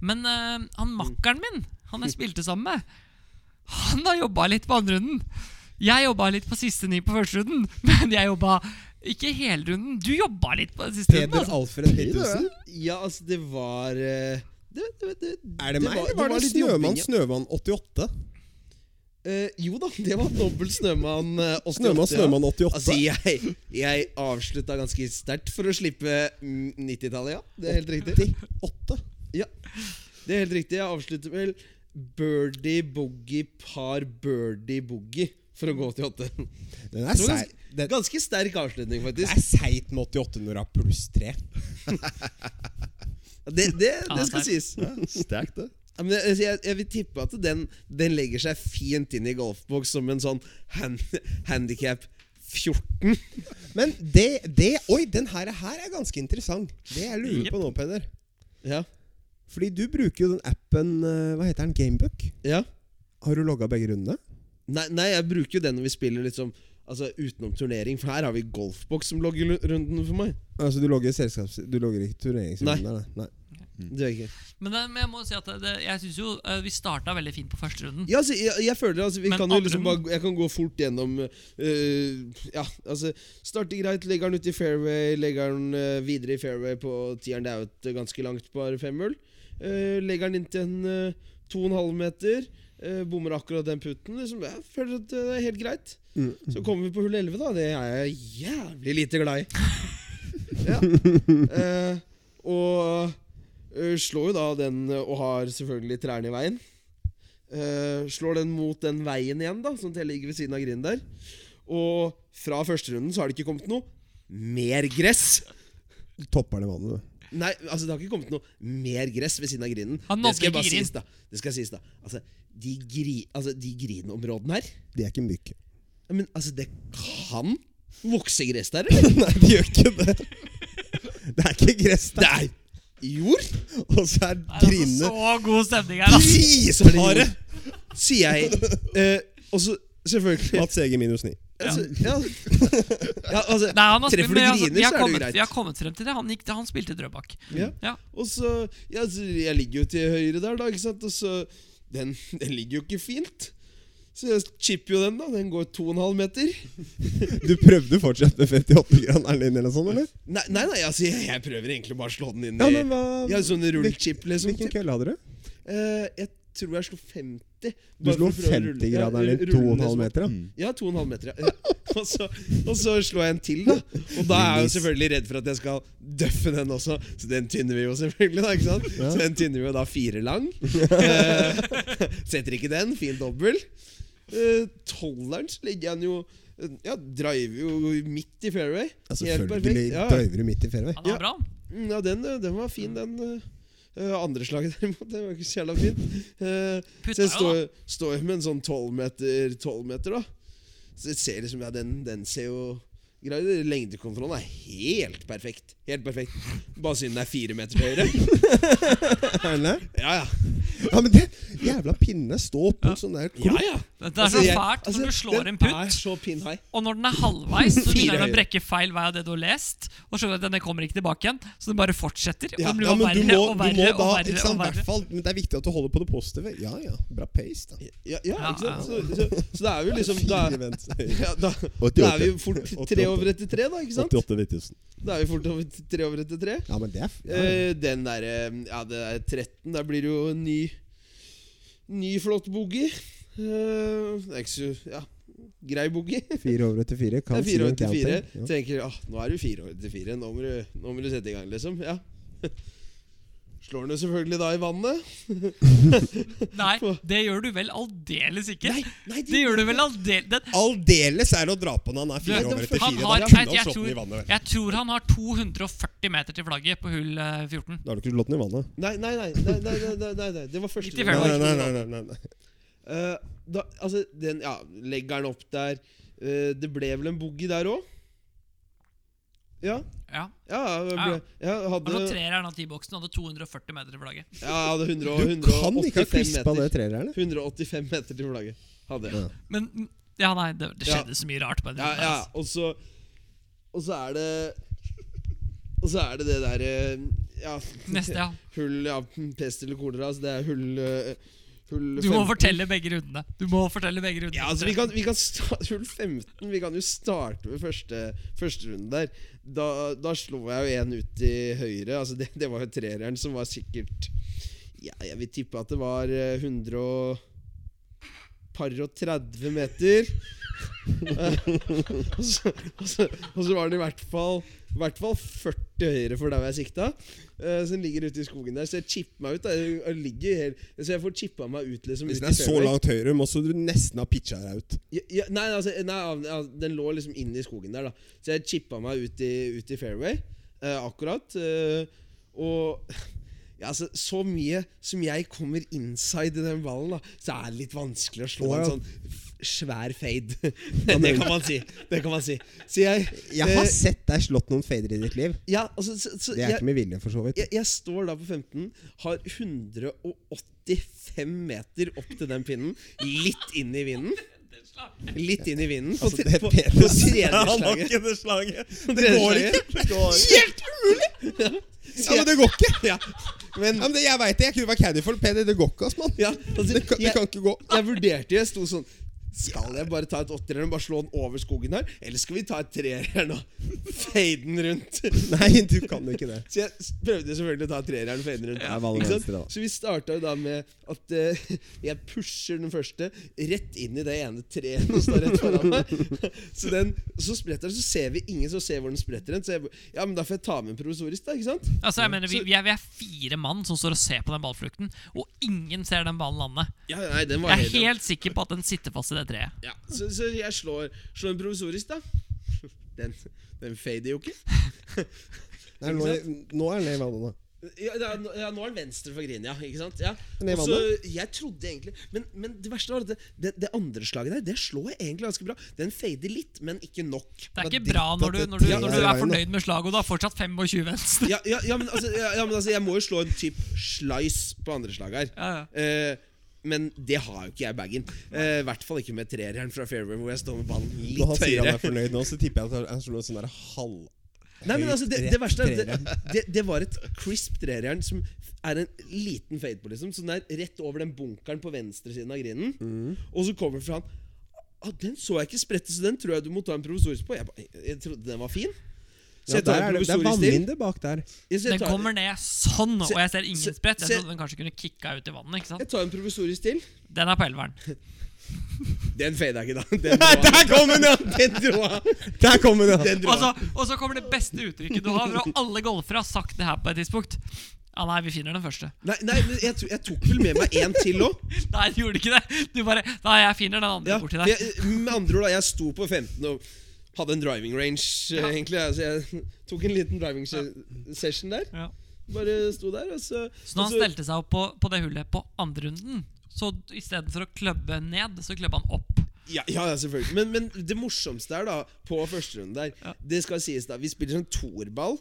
Speaker 1: Men eh, han makkeren min, han jeg spilte sammen med, han har jobba litt på andre runden. Jeg jobba litt på siste ni på første runden, men jeg jobba ikke hele runden. Du jobba litt på den siste runden.
Speaker 2: Peder
Speaker 1: Altså.
Speaker 2: Alfred Pettersen.
Speaker 3: Pettersen? Ja, altså, det var eh, det, det, det,
Speaker 2: Er det meg,
Speaker 3: var-
Speaker 2: eller var
Speaker 3: var
Speaker 2: det
Speaker 3: litt
Speaker 2: Snømann
Speaker 3: jobbing, ja.
Speaker 2: Snømann 88?
Speaker 3: Eh, jo da, det var dobbelt Snømann eh, 88.
Speaker 2: Snømann
Speaker 3: ja.
Speaker 2: Snømann 88.
Speaker 3: Altså, jeg, jeg avslutta ganske sterkt for å slippe mm, 90-tallet, ja. Det er helt riktig.
Speaker 2: 88?
Speaker 3: Ja, det er helt riktig. Jeg avslutter vel birdie, boogie, par, birdie, boogie for å gå til 8.
Speaker 2: Den er
Speaker 3: Det var
Speaker 2: seig.
Speaker 3: ganske,
Speaker 2: Den-
Speaker 3: ganske sterk avslutning,
Speaker 2: Det
Speaker 3: faktisk.
Speaker 2: er seigt med 88 når du har pluss 3.
Speaker 3: Det, det,
Speaker 1: Ja,
Speaker 3: det
Speaker 1: det
Speaker 3: skal
Speaker 1: er-
Speaker 3: sies.
Speaker 4: Ja, Sterkt, det.
Speaker 3: Ja, men jeg, jeg, jeg vil tippe at den, den legger seg fint inn i golfboks som en sånn hand, handikap 14.
Speaker 2: Men det, det Oi, den her, her er ganske interessant. Det jeg lurer på nå, Peder.
Speaker 3: Ja,
Speaker 2: Fordi du bruker jo den appen eh, Hva heter den? Gamebook?
Speaker 3: ja.
Speaker 2: Har du logga begge rundene?
Speaker 3: Nei, nei, jeg bruker jo den når vi spiller liksom, altså, utenom turnering, for her har vi golfboks som logger lu- runden for meg.
Speaker 2: Altså Du logger selskaps... Du logger ikke turneringsrunden? der, Nei. Nei.
Speaker 3: Det er ikke.
Speaker 1: Men, det, men jeg må si at det, jeg synes jo eh, vi starta veldig fint på første runden.
Speaker 3: Ja, altså, jeg, jeg føler altså, vi
Speaker 1: Men
Speaker 3: kan jo
Speaker 1: andre
Speaker 3: liksom bare, Jeg kan gå fort gjennom øh, Ja, altså Starte greit, legger den ut i fairway, legger den øh, videre i fairway på tieren. Det er jo et ganske langt par femhull. Uh, legger den inn til en øh, to og en halv meter. øh, bommer akkurat den putten. Liksom, jeg føler at det er helt greit. Så kommer vi på hull 11, da. Det er jeg jævlig lite glad i. ja. Eh, og øh, slår jo da den, øh, og har selvfølgelig trærne i veien. Eh, slår den mot den veien igjen, da, sånn at jeg ligger ved siden av grinden der. Og fra første runden så har det ikke kommet noe mer gress.
Speaker 2: Du topper det vannet, du.
Speaker 3: Nei, altså det har ikke kommet noe mer gress ved siden av grinden.
Speaker 1: Han
Speaker 3: Det skal
Speaker 1: nådde
Speaker 3: jeg bare
Speaker 1: grin.
Speaker 3: sies, da. Det skal sies, da. Altså, de, gri, altså, de grinområdene her
Speaker 2: De er ikke myke.
Speaker 3: Men altså, det kan vokse gress der, eller?
Speaker 2: Nei, de gjør ikke det. Det er ikke gress der.
Speaker 3: Det er jord!
Speaker 2: Og så er
Speaker 1: Det er altså
Speaker 2: grinene
Speaker 1: så god stemning her, altså.
Speaker 2: isharde!
Speaker 3: Sier jeg. Eh, og så selvfølgelig
Speaker 2: Mats Ege minus 9.
Speaker 3: altså, ja. ja, altså
Speaker 1: Nei, han har spilt,
Speaker 3: Treffer du
Speaker 1: men, altså, vi, har
Speaker 3: griner, så er det jo
Speaker 1: kommet,
Speaker 3: greit.
Speaker 1: vi har kommet frem til det. Han, gikk, han spilte drøbak.
Speaker 3: Ja.
Speaker 1: Ja.
Speaker 3: Og så ja, så Jeg ligger jo til høyre der, da, ikke sant? Og så Den, den ligger jo ikke fint. Så jeg chipper jo den, da. Den går 2,5 meter.
Speaker 2: Du prøvde fortsatt med 58-graneren din, eller sånn, eller?
Speaker 3: Nei, nei, nei altså, jeg, jeg prøver egentlig bare å slå den inn
Speaker 2: Ja,
Speaker 3: i
Speaker 2: men hva-
Speaker 3: Ja, sånn rullchip, liksom.
Speaker 2: Hvilken kølle hadde du?
Speaker 3: Eh, jeg tror jeg slo 50.
Speaker 2: Du
Speaker 3: bare
Speaker 2: slo
Speaker 3: for å prøve å rulle- ja,
Speaker 2: 50-graderen din
Speaker 3: rulle
Speaker 2: 2,5
Speaker 3: den liksom.
Speaker 2: meter. da
Speaker 3: Ja, 2,5 meter. Ja. Og, så, og så slår jeg en til, da. Og da er jeg jo
Speaker 2: Release.
Speaker 3: selvfølgelig redd for at jeg skal døffe den også, så den tynner vi jo selvfølgelig. da, ikke sant? Så den tynner vi jo da fire lang. Eh, setter ikke den, fin dobbel. Eh, Tolveren så legger jeg den jo Ja, driver jo midt i fairway.
Speaker 2: Ja,
Speaker 3: Helt
Speaker 2: Selvfølgelig
Speaker 3: perfekt. Ja, ja.
Speaker 2: døyver du midt i fairway.
Speaker 1: Han var
Speaker 3: Ja.
Speaker 1: bra.
Speaker 3: Mm, ja den, eh, den var fin, den. eh. Eh, andre slaget, derimot, det var ikke så jævla fint. Eh, så
Speaker 1: Putta
Speaker 3: jeg
Speaker 1: jo,
Speaker 3: står,
Speaker 1: da.
Speaker 3: står jo med en sånn 12 meter, 12 meter da. Så jeg ser liksom, ja, den, den ser jo grei ut. Lengdekontrollen er helt perfekt. Helt perfekt. Bare siden den er fire meter til høyre.
Speaker 2: Er den det?
Speaker 3: Ja, ja.
Speaker 2: Ja, men det Jævla pinne! Stå opp mot sånn der
Speaker 3: Ja,
Speaker 2: klump.
Speaker 3: ja.
Speaker 1: Det er så fælt når du slår en putt,
Speaker 3: Altså, Den er så pinnhai.
Speaker 1: og når den er halvveis, så begynner den å
Speaker 3: Fire
Speaker 1: brekke feil vei av det du har lest. Og skjønner at denne kommer ikke tilbake igjen, så den bare fortsetter. Og
Speaker 2: Ja,
Speaker 1: den blir
Speaker 2: ja,
Speaker 1: bare
Speaker 2: men du
Speaker 1: verre
Speaker 2: må,
Speaker 1: og
Speaker 2: du må
Speaker 1: verre og
Speaker 2: da ikke
Speaker 1: verre.
Speaker 2: sant,
Speaker 1: og verre.
Speaker 2: hvert fall, Men det er viktig at du holder på det positive. Ja ja, bra pace, da.
Speaker 3: Ja, ja,
Speaker 1: Ja,
Speaker 3: ikke sant? Så, så, så da er vi liksom Da,
Speaker 2: Fire venstre.
Speaker 3: ja, da, da
Speaker 4: 88.
Speaker 3: er vi jo fort tre over etter tre, da. Ikke sant?
Speaker 2: 88 9000.
Speaker 3: Da er vi fort over tre over etter tre.
Speaker 2: Ja, men det er f- ja, ja.
Speaker 3: Eh, den derre Ja, det er 13. Der blir det jo en ny Ny flott boogie. Eh, det er ikke så Ja, grei boogie.
Speaker 2: Fire over etter fire.
Speaker 3: Det
Speaker 2: Kan
Speaker 3: er fire over til
Speaker 2: si
Speaker 3: fire.
Speaker 2: en counter. Ja.
Speaker 3: Tenker ah, nå er du fire over til fire. Nå må du, nå må du sette i gang, liksom. Ja. Slår den jo selvfølgelig da i vannet.
Speaker 1: Nei, det gjør du vel aldeles ikke.
Speaker 3: nei
Speaker 1: Det gjør du vel aldeles den,
Speaker 2: Aldeles er det å dra på når han er fire
Speaker 3: Du,
Speaker 2: over etter
Speaker 1: han
Speaker 2: fire.
Speaker 1: har,
Speaker 2: Da
Speaker 1: jeg,
Speaker 2: kunne han
Speaker 1: jeg,
Speaker 2: slått den i
Speaker 1: tror,
Speaker 2: vannet.
Speaker 1: jeg tror han har 240 meter til flagget på hull eh, 14.
Speaker 2: Da har du ikke slått den i vannet.
Speaker 3: Nei, nei, nei. nei, nei, nei, nei, nei, nei. Det var første
Speaker 1: Midt i
Speaker 3: gang.
Speaker 1: fairway.
Speaker 2: Nei, nei, nei, nei, nei, nei.
Speaker 3: Eh, da, altså, den Ja, legger den opp der. Eh, det ble vel en boogie der òg? Ja.
Speaker 1: Ja.
Speaker 3: Ja, det
Speaker 1: Ja, ja.
Speaker 3: ble, ja,
Speaker 1: Han
Speaker 3: hadde,
Speaker 1: lå treer av T-boksen og hadde 240 meter til flagget.
Speaker 3: ja, hadde 100, og
Speaker 2: Du kan ikke ha
Speaker 3: 185
Speaker 2: crispa det
Speaker 3: meter.
Speaker 2: treeren.
Speaker 3: 185 meter til flagget. Hadde jeg.
Speaker 1: Men ja, nei, det, det skjedde så mye rart. på det
Speaker 3: Ja,
Speaker 1: der,
Speaker 3: ja,
Speaker 1: altså.
Speaker 3: og så Og så er det Og så er det det derre Ja,
Speaker 1: Neste, ja.
Speaker 3: hull ja, Pest eller kolera. Altså det er hull eh, Hull
Speaker 1: Du må
Speaker 3: 15.
Speaker 1: fortelle begge rundene. Du må fortelle begge rundene.
Speaker 3: Ja, altså vi kan, vi kan sta- Hull 15 Vi kan jo starte med første, første runde der. Da, da slo jeg jo en ut til høyre. Altså det, det var jo trereren som var sikkert Ja, jeg vil tippe at det var eh, 100 og par og 30 meter. og, så, og, så, og så var den i hvert fall I hvert fall 40 høyre for der hvor jeg sikta. eh, så den ligger ute i skogen der. Så jeg chipper meg ut. Da. Jeg ligger helt, så jeg får chippa meg ut liksom
Speaker 2: Hvis
Speaker 3: ut
Speaker 2: den er
Speaker 3: i
Speaker 2: så
Speaker 3: fairway.
Speaker 2: langt høyre, må så du nesten ha pitcha deg ut.
Speaker 3: Ja, ja, nei, altså, nei, al- al- den lå liksom inne i skogen der, da. Så jeg chippa meg ut i, ut i fairway eh, akkurat. eh, og ja, altså, så mye som jeg kommer inside i den ballen, da, så er det litt vanskelig å
Speaker 2: Å,
Speaker 3: slå
Speaker 2: ja.
Speaker 3: en sånn f- svær fade. det kan man si. Det kan man si. Så jeg
Speaker 2: Jeg har
Speaker 3: eh,
Speaker 2: sett deg slått noen fader i ditt liv.
Speaker 3: ja, altså, så, så,
Speaker 2: Det er
Speaker 3: jeg,
Speaker 2: ikke med vilje, for så vidt.
Speaker 3: jeg, jeg står da på 15, har 185 meter opp til den pinnen, litt inn i vinden. Litt inn i vinden. På,
Speaker 2: Altså,
Speaker 3: tre-
Speaker 2: det
Speaker 3: på,
Speaker 2: Peter
Speaker 3: på
Speaker 2: sa,
Speaker 3: tredje
Speaker 2: han har
Speaker 3: slaget.
Speaker 2: ikke det slaget. Det
Speaker 3: Tredje
Speaker 2: går
Speaker 3: slaget.
Speaker 2: ikke! Helt umulig! Ja, men det går ikke!
Speaker 3: Ja, men
Speaker 2: Ja, men det, jeg veit det. Jeg kunne vært caddy for Peder. Det går ikke, ass, mann.
Speaker 3: ja, altså,
Speaker 2: Det, kan- det
Speaker 3: jeg,
Speaker 2: kan ikke gå.
Speaker 3: jeg vurderte jo, jeg sto sånn Skal jeg bare ta et åtter og bare slå den over skogen her? Eller skal vi ta et treer her nå? Fade den rundt.
Speaker 2: Nei, du kan ikke det.
Speaker 3: Så jeg s- prøvde selvfølgelig å ta treeren og fade den rundt.
Speaker 2: Ja, valg
Speaker 3: Ikke sant?
Speaker 2: venstre, da.
Speaker 3: Så vi starta jo da med at eh, jeg pusher den første rett inn i det ene treet som står rett foran meg. Så den, så spretter den, så ser vi ingen som ser hvor den spretter den. Så jeg, ja, men da får jeg ta med en provisorisk, da. ikke sant?
Speaker 1: Altså, jeg mener, vi, vi, er, vi er fire mann som står og ser på den ballflukten, og ingen ser den ballen lande.
Speaker 3: Ja, nei, den
Speaker 1: Jeg er helt sikker på at den sitter fast i det treet.
Speaker 3: Ja, så, så jeg slår, slår en provisorisk, da. Den, den fader jo ikke.
Speaker 2: Nei, nå, nå er han ned i vannet, nå.
Speaker 3: Ja, da, nå- ja, nå er den venstre for Grini, ja. Ikke sant? Ja.
Speaker 2: Men det
Speaker 3: Og så,
Speaker 2: vannet?
Speaker 3: jeg trodde egentlig Men, men det verste var at det, det, det andre slaget der, det slår jeg egentlig ganske bra. Den fader litt, men ikke nok.
Speaker 1: Det er
Speaker 2: Det
Speaker 1: ikke
Speaker 2: var
Speaker 1: bra når du, når
Speaker 2: dritt at det
Speaker 1: du,
Speaker 2: treet
Speaker 1: når
Speaker 2: er i
Speaker 1: du er
Speaker 2: veien,
Speaker 1: fornøyd med slaget, og du har fortsatt 25 venstre.
Speaker 3: Ja, ja, ja, men, altså, ja, ja, men altså, jeg må jo slå en type slice på andre slag her.
Speaker 1: Ja, ja.
Speaker 3: Eh, men det har jo ikke jeg i bagen. Eh, I hvert fall ikke med trerjern fra Fairway, hvor jeg står med ballen litt
Speaker 2: Når han sier
Speaker 3: høyere.
Speaker 2: han er fornøyd nå, så tipper jeg at han slår en sånn der halv...
Speaker 3: Nei, men
Speaker 2: høyt
Speaker 3: altså, det,
Speaker 2: rett
Speaker 3: det verste er at
Speaker 2: treeren.
Speaker 3: det, det, det var et crisp trerjern som er en liten fade på, liksom. Så den er rett over den bunkeren på venstresiden av grinen.
Speaker 2: Mm.
Speaker 3: Og så kommer det fra han ah, Den så jeg ikke sprette, så den tror jeg du må ta en provisorisk på. Jeg, ba- jeg trodde den var fin.
Speaker 2: Ja,
Speaker 3: Så jeg tar
Speaker 2: der er
Speaker 3: en
Speaker 2: det, det er
Speaker 3: provisorisk til.
Speaker 2: vannvindu bak der.
Speaker 3: Ja, så jeg
Speaker 1: Den
Speaker 3: tar-
Speaker 1: kommer ned sånn, og jeg ser
Speaker 3: Se-
Speaker 1: ingen sprett. Jeg
Speaker 3: se-
Speaker 1: trodde den kanskje kunne kicka ut i vannet. ikke sant?
Speaker 3: Jeg tar en provisorisk til.
Speaker 1: Den er på elveren.
Speaker 3: Den fada ikke, da. Den dro av.
Speaker 2: kom han, ja!
Speaker 3: Den dro av.
Speaker 2: Der kom han, ja!
Speaker 3: Den dro
Speaker 1: Og så,
Speaker 3: av.
Speaker 1: og så kommer det beste uttrykket du har, og alle golfere har sagt det her på et tidspunkt. Ja, nei, vi finner den første.
Speaker 3: Nei, nei men jeg, to- jeg tok vel med meg en til òg.
Speaker 1: Nei, du gjorde ikke det. Du bare Nei, jeg finner den andre
Speaker 3: Ja,
Speaker 1: borti
Speaker 3: for
Speaker 1: der.
Speaker 3: jeg, med andre ord, da, jeg sto på 15 og hadde en driving range, eh, egentlig. Altså, jeg tok en liten driving se session der.
Speaker 1: Ja.
Speaker 3: Bare sto der, og så
Speaker 1: Så når han
Speaker 3: og så-
Speaker 1: stelte seg opp på, på det hullet på andre runden, så istedenfor å kløbbe ned, så kløbba han opp.
Speaker 3: ja, ja, ja, selvfølgelig. Men, men det morsomste er, da, på første runde der
Speaker 1: Ja.
Speaker 3: Det skal sies, da. Vi spiller sånn toerball.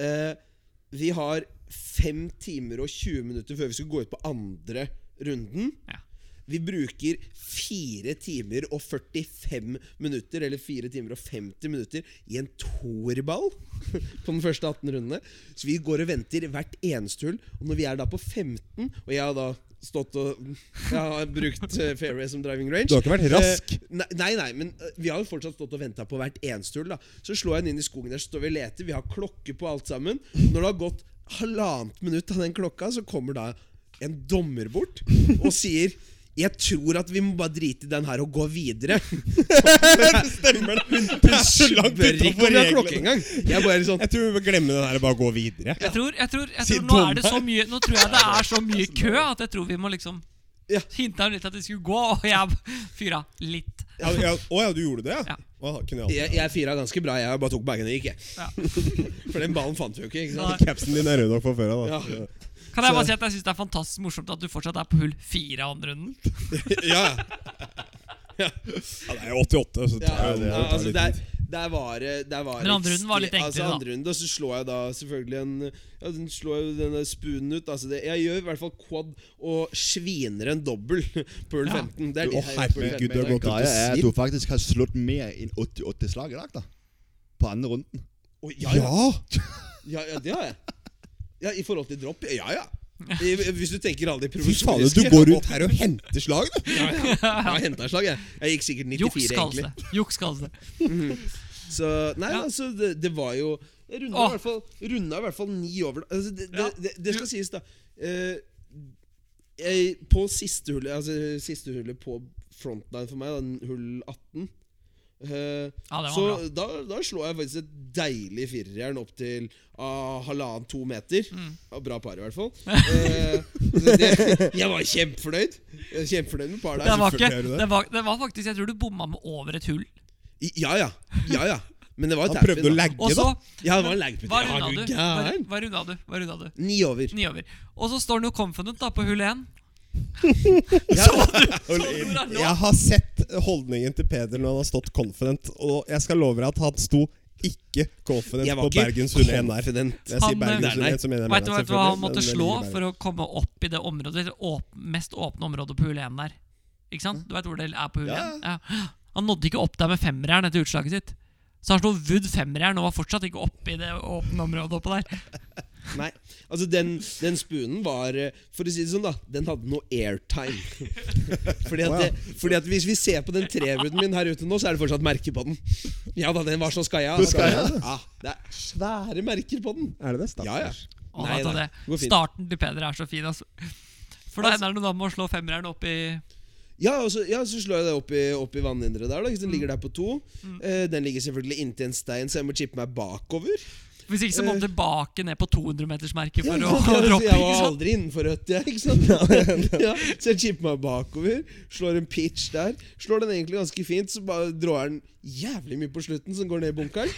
Speaker 3: Eh, vi har fem timer og 20 minutter før vi skal gå ut på andre runden.
Speaker 1: Ja.
Speaker 3: Vi bruker 4 timer og 45 minutter, eller 4 timer og 50 minutter, i en toerball på den første 18 rundene. Så vi går og venter hvert eneste hull. Og når vi er da på 15, og jeg har da stått og jeg har brukt eh, fairway som driving range
Speaker 5: Du har ikke vært rask.
Speaker 3: Eh, Nei, nei, nei, men eh, vi har jo fortsatt stått og venta på hvert eneste hull. da. Så slår jeg den inn i skogen der, så står vi og leter, vi har klokke på alt sammen. Når det har gått halvannet minutt av den klokka, så kommer da en dommer bort og sier jeg tror at vi må bare drite i den her og gå videre.
Speaker 5: Stemmer det?
Speaker 3: Hun
Speaker 5: så langt
Speaker 3: spør ikke om vi har
Speaker 5: utenfor
Speaker 3: klokke engang. Jeg er bare sånn
Speaker 5: Jeg tror vi bør glemme den her og bare gå videre.
Speaker 1: Jeg tror, jeg tror, jeg tror
Speaker 5: Siden
Speaker 1: nå, er det
Speaker 5: dommer.
Speaker 1: så mye, nå tror jeg det er så mye kø at jeg tror vi må liksom
Speaker 3: Ja.
Speaker 1: Hinta litt at det skulle gå, og jeg fyra litt.
Speaker 5: Ja, ja, å ja, du gjorde det, ja?
Speaker 1: Ja.
Speaker 5: Å, kunne jeg
Speaker 3: Jeg, jeg fyra ganske bra, jeg bare tok bagene og gikk, jeg.
Speaker 1: Ja.
Speaker 3: For den ballen fant vi jo ikke. ikke sant?
Speaker 1: Nei.
Speaker 5: aldri Capsen din er rød nok fra før av, da.
Speaker 3: Ja.
Speaker 1: Kan jeg bare si at jeg syns det er fantastisk morsomt at du fortsatt er på hull fire av andre runden?
Speaker 3: Ja, ja.
Speaker 5: Ja, det er jo 88, så
Speaker 3: Ja,
Speaker 5: tar jo-
Speaker 3: ja,
Speaker 5: tar litt
Speaker 3: altså
Speaker 5: tid.
Speaker 3: der, der var det der var
Speaker 1: Men andre runden var litt
Speaker 3: ekstremt-
Speaker 1: enklere,
Speaker 3: altså,
Speaker 1: da.
Speaker 3: andre runden, Og så slår jeg da selvfølgelig en ja, Den slår jo denne spoonen ut. Altså det, jeg gjør i hvert fall quad og sviner en dobbel på hull
Speaker 1: Ja.
Speaker 3: 15. Det er
Speaker 5: Å,
Speaker 3: det jeg gjør på hull
Speaker 5: herregud,
Speaker 3: 15.
Speaker 5: du har gått ut
Speaker 4: Greia
Speaker 5: og
Speaker 4: er at du
Speaker 5: svidd.
Speaker 4: faktisk har slått mer enn 88 slag i dag, da. På andre runden.
Speaker 3: Å, ja, ja,
Speaker 5: Ja!
Speaker 3: ja, ja, det har jeg. Ja, I forhold til dropp, ja ja. I, hvis du tenker alle de
Speaker 5: Fy faen, du
Speaker 3: provisoriske
Speaker 5: går rundt her og henter slag, da!
Speaker 3: Ja, ja. Jeg har hentet slag, jeg. Jeg gikk sikkert 94,
Speaker 1: Juks kalles
Speaker 3: egentlig.
Speaker 1: det. Juks kalles det.
Speaker 3: Så nei,
Speaker 1: Ja.
Speaker 3: altså, det, det var jo jeg Runda
Speaker 1: Åh.
Speaker 3: i hvert fall, runda i hvert fall ni over altså, det,
Speaker 1: Ja.
Speaker 3: det, det, det skal sies, da. Eh, jeg, på siste hullet Altså siste hullet på frontline for meg, da, hull 18 eh,
Speaker 1: Ja, det var
Speaker 3: Så
Speaker 1: bra.
Speaker 3: da, da slår jeg faktisk et deilig firerjern opp til ah, halvannen-to meter.
Speaker 1: Mm.
Speaker 3: Ja, Bra par, i hvert fall. Eh, så det, jeg var kjempefornøyd. Jeg var Kjempefornøyd med par der.
Speaker 1: Det var,
Speaker 5: selvfølgelig
Speaker 1: ikke,
Speaker 5: er du det.
Speaker 1: det, var, det var faktisk Jeg tror du bomma med over et hull.
Speaker 3: I- Ja ja. ja, ja. Men det var jo
Speaker 5: Han prøvde
Speaker 3: tap-in,
Speaker 5: å
Speaker 3: da.
Speaker 5: legge,
Speaker 1: Og så
Speaker 5: da.
Speaker 3: Ja, det var en lengpute.
Speaker 1: Hva
Speaker 3: Ja,
Speaker 1: runda
Speaker 3: du
Speaker 1: du? Hva
Speaker 3: gæren.
Speaker 1: hva runda du? Hva runda du?
Speaker 3: Ni over.
Speaker 1: Ni over. Og så står han jo confident da på hull én.
Speaker 5: Jeg har sett holdningen til Peder når han har stått confident, og jeg skal love deg at han sto ikke confident
Speaker 3: Jeg var
Speaker 5: på
Speaker 3: ikke
Speaker 5: Bergens Hull 1 der.
Speaker 3: confident.
Speaker 5: Jeg
Speaker 1: Han,
Speaker 5: sier Bergens
Speaker 3: eh,
Speaker 5: Hull 1, så mener jeg
Speaker 1: Vet du vet du hva han måtte slå
Speaker 5: å
Speaker 1: for å komme opp i det området det åp mest åpne området på hull 1 der? Ikke sant? Du vet hvor det er på hull 1?
Speaker 4: Ja,
Speaker 1: Ja. Han nådde ikke opp der med femmerjern etter utslaget sitt. Så han slo Wood femmerjern og var fortsatt ikke oppe i det åpne området oppå der.
Speaker 3: Nei, altså den, den spoonen var eh, For å si det sånn, da. Den hadde noe airtime. Fordi at, det- fordi at hvis vi ser på den treruden min her ute nå, så er det fortsatt merker på den. Ja da, den var så skaia.
Speaker 4: Du skaia, du.
Speaker 3: Ja, det er svære merker på den.
Speaker 5: Er det det? Stakkars.
Speaker 3: Ja, ja.
Speaker 1: Og
Speaker 3: Nei,
Speaker 1: altså
Speaker 3: nei,
Speaker 1: det.
Speaker 3: det går fint.
Speaker 1: Starten til Peder er så fin, altså. For da ender det da med å slå femmeren opp i
Speaker 3: Ja, og så, ja, så slår jeg det opp i, opp i vannhinderet der. da ikke sant? Den ligger der på to.
Speaker 1: Mm.
Speaker 3: Eh, Den ligger selvfølgelig inntil en stein, så jeg må chippe meg bakover.
Speaker 1: Hvis ikke så må han tilbake ned på 200-metersmerket for
Speaker 3: Eh. Ja,
Speaker 1: å, sånn.
Speaker 3: ikke sant?
Speaker 1: droppe.
Speaker 3: Jeg
Speaker 1: Ikke
Speaker 3: var
Speaker 1: sant?
Speaker 3: aldri innenfor rødt, jeg. Ikke sant? ja, så jeg chipper meg bakover, slår en pitch der. Slår den egentlig ganske fint, så bare drar den jævlig mye på slutten, som går ned i bunkeren.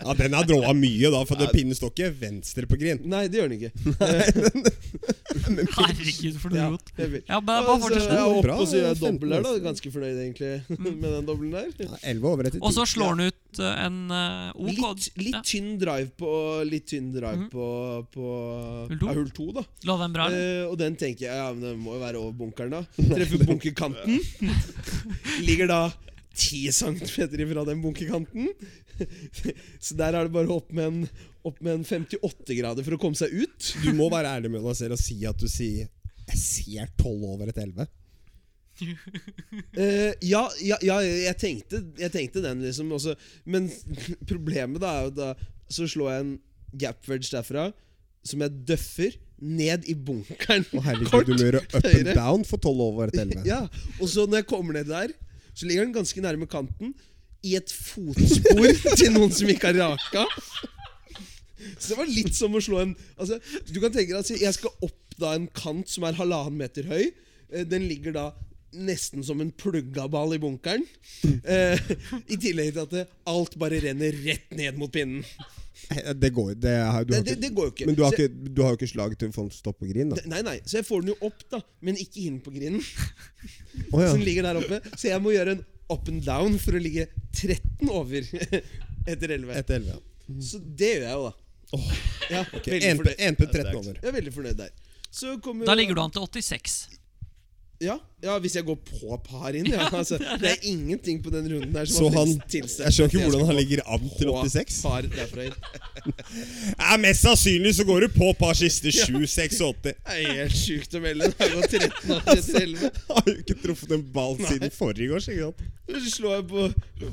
Speaker 5: Ja, Den har dråa mye, da, for det pinnen står ikke venstre på green.
Speaker 3: Nei, det gjør den ikke.
Speaker 1: Herregud, for noe
Speaker 3: Ja,
Speaker 1: rot.
Speaker 3: jeg vet.
Speaker 1: Ja, bare, bare
Speaker 3: Og så
Speaker 1: fortsett. Mm.
Speaker 3: er jeg opp,
Speaker 5: Bra,
Speaker 3: og så gjør jeg
Speaker 5: 15
Speaker 3: dobbel der, da. Ganske fornøyd, egentlig, med den dobbelen der.
Speaker 5: Ja, 11 over etter 10.
Speaker 1: Og så slår han ut eh, en eh, OK Mm.
Speaker 3: Litt, litt tynn drive på Litt tynn drive på, på
Speaker 1: Hull to?
Speaker 3: ja, hull to, da.
Speaker 1: ja, Lå den bra? eller?
Speaker 3: Eh, og den tenker jeg ja, men det må jo være over bunkeren, da. Treffer bunkerkanten. Ligger da 10 centimeter ifra den bunkerkanten. Så der er det bare opp med en, opp med en 58-grader for å komme seg ut.
Speaker 5: Du må være ærlig med deg selv og si at du sier 'jeg ser 12 over etter 11'.
Speaker 3: Eh, ja, ja, ja jeg, tenkte, jeg tenkte den, liksom. Også. Men problemet da er jo da Så slår jeg en gap wedge derfra, som jeg døffer ned i bunkeren.
Speaker 5: Å
Speaker 3: Kort.
Speaker 5: herregud, du lurer up and
Speaker 3: Høyre.
Speaker 5: down for 12 over etter 11.
Speaker 3: Ja, og så når jeg kommer ned der Så ligger den ganske nærme kanten I et fotspor til noen som ikke har raka Så det var litt som å slå en altså, Du kan tenke deg at jeg skal opp da en kant som er halvannen meter høy Eh, Den ligger da nesten som en pluggaball i bunkeren eh, I tillegg til at det, alt bare renner rett ned mot pinnen
Speaker 5: Eh, Det går det, har- du
Speaker 3: Det,
Speaker 5: har
Speaker 3: det,
Speaker 5: ikke-
Speaker 3: det går jo ikke
Speaker 5: Men du har,
Speaker 3: Så-
Speaker 5: ikke, du har jo ikke slag til å få den til å stoppe på green, da.
Speaker 3: Nei, nei, så jeg får den jo opp da Men ikke inn på grinnen
Speaker 5: Å, ja.
Speaker 3: som ligger der oppe. Så jeg må gjøre en up and down for å ligge 13 over etter 11.
Speaker 5: Etter 11, ja.
Speaker 3: Så det gjør jeg jo, da. Ja,
Speaker 5: Ok,
Speaker 3: veldig
Speaker 5: en på-
Speaker 3: fornøyd.
Speaker 5: en på 13 over.
Speaker 3: Jeg er veldig fornøyd der. Så kommer
Speaker 1: Da ligger du an til 86.
Speaker 3: Ja, ja, hvis jeg går på par inn, ja. Altså, det er ingenting på den runden der
Speaker 2: Så
Speaker 3: som har
Speaker 2: han
Speaker 3: blitt
Speaker 2: Jeg
Speaker 3: tilstemt.
Speaker 2: skjønner ikke hvordan han ligger an til 86.
Speaker 3: Par derfra inn.
Speaker 2: Ja, mest sannsynlig så går du på par siste 7, 6 og 80.
Speaker 3: Det er helt sjukt å melde. Det har gått 13 år til helvete.
Speaker 2: Har jo ikke truffet en ball siden forrige års. ikke sant?
Speaker 3: Så slår jeg på,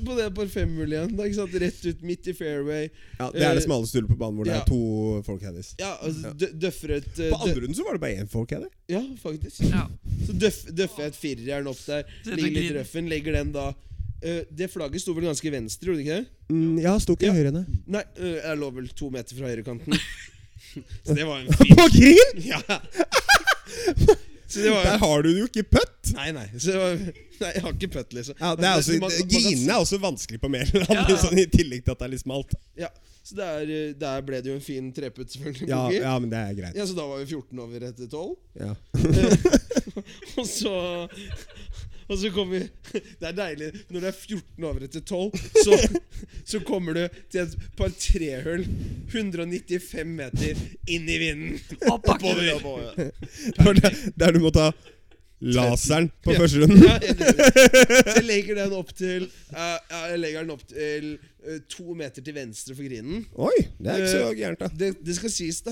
Speaker 3: på det par femhull igjen. Da, ikke sant? Rett ut midt i fairway.
Speaker 2: Ja, Det er det smaleste hullet på banen hvor det
Speaker 3: Eh, Ja.
Speaker 2: er to folk handys.
Speaker 3: Ja, altså, dø- døffer et eh,
Speaker 2: På
Speaker 3: dø-
Speaker 2: andre runden så var det bare én folk handy.
Speaker 3: Ja, faktisk.
Speaker 1: Ja.
Speaker 3: Så døff, døffer jeg et firerjern opp der.
Speaker 1: Dette
Speaker 3: Ligger litt i
Speaker 1: glid.
Speaker 3: røffen, legger den da. Eh, det flagget sto vel ganske venstre, gjorde det ikke det?
Speaker 2: Mm, ja, sto ikke
Speaker 3: Ja.
Speaker 2: høyre enn det.
Speaker 3: Nei, eh, jeg lå vel to meter fra høyrekanten. Så det var en
Speaker 2: På green!
Speaker 3: Ja. Så det var
Speaker 2: Der har du det jo ikke putt!
Speaker 3: Nei, nei. Så det var, nei jeg har ikke putt, liksom.
Speaker 2: Ja, det er altså også,
Speaker 3: Man- man- man kan
Speaker 2: Grine er også vanskelig på Mæland,
Speaker 1: Ja.
Speaker 2: sånn, i tillegg til at det er litt smalt.
Speaker 3: Ja, så der, eh, der ble det jo en fin treputt, selvfølgelig.
Speaker 2: Ja,
Speaker 3: boogie.
Speaker 2: ja, men det er greit.
Speaker 3: Ja, Så da var vi 14 over etter 12.
Speaker 2: Ja.
Speaker 3: Og så Og så kommer vi Det er deilig. Når det er 14 over etter 12, så, så kommer du til et par trehull 195 meter inn i vinden.
Speaker 1: Og bakken.
Speaker 3: Oppover. oppover.
Speaker 2: For det, der du må ta laseren på
Speaker 3: Ja.
Speaker 2: første runden.
Speaker 3: Ja, helt riktig. så jeg legger den opp til eh, ja, Jeg legger den opp til eh, to meter til venstre for grinen.
Speaker 2: Oi, det er ikke så
Speaker 3: Eh,
Speaker 2: gærent, da.
Speaker 3: Det, det skal sies, da.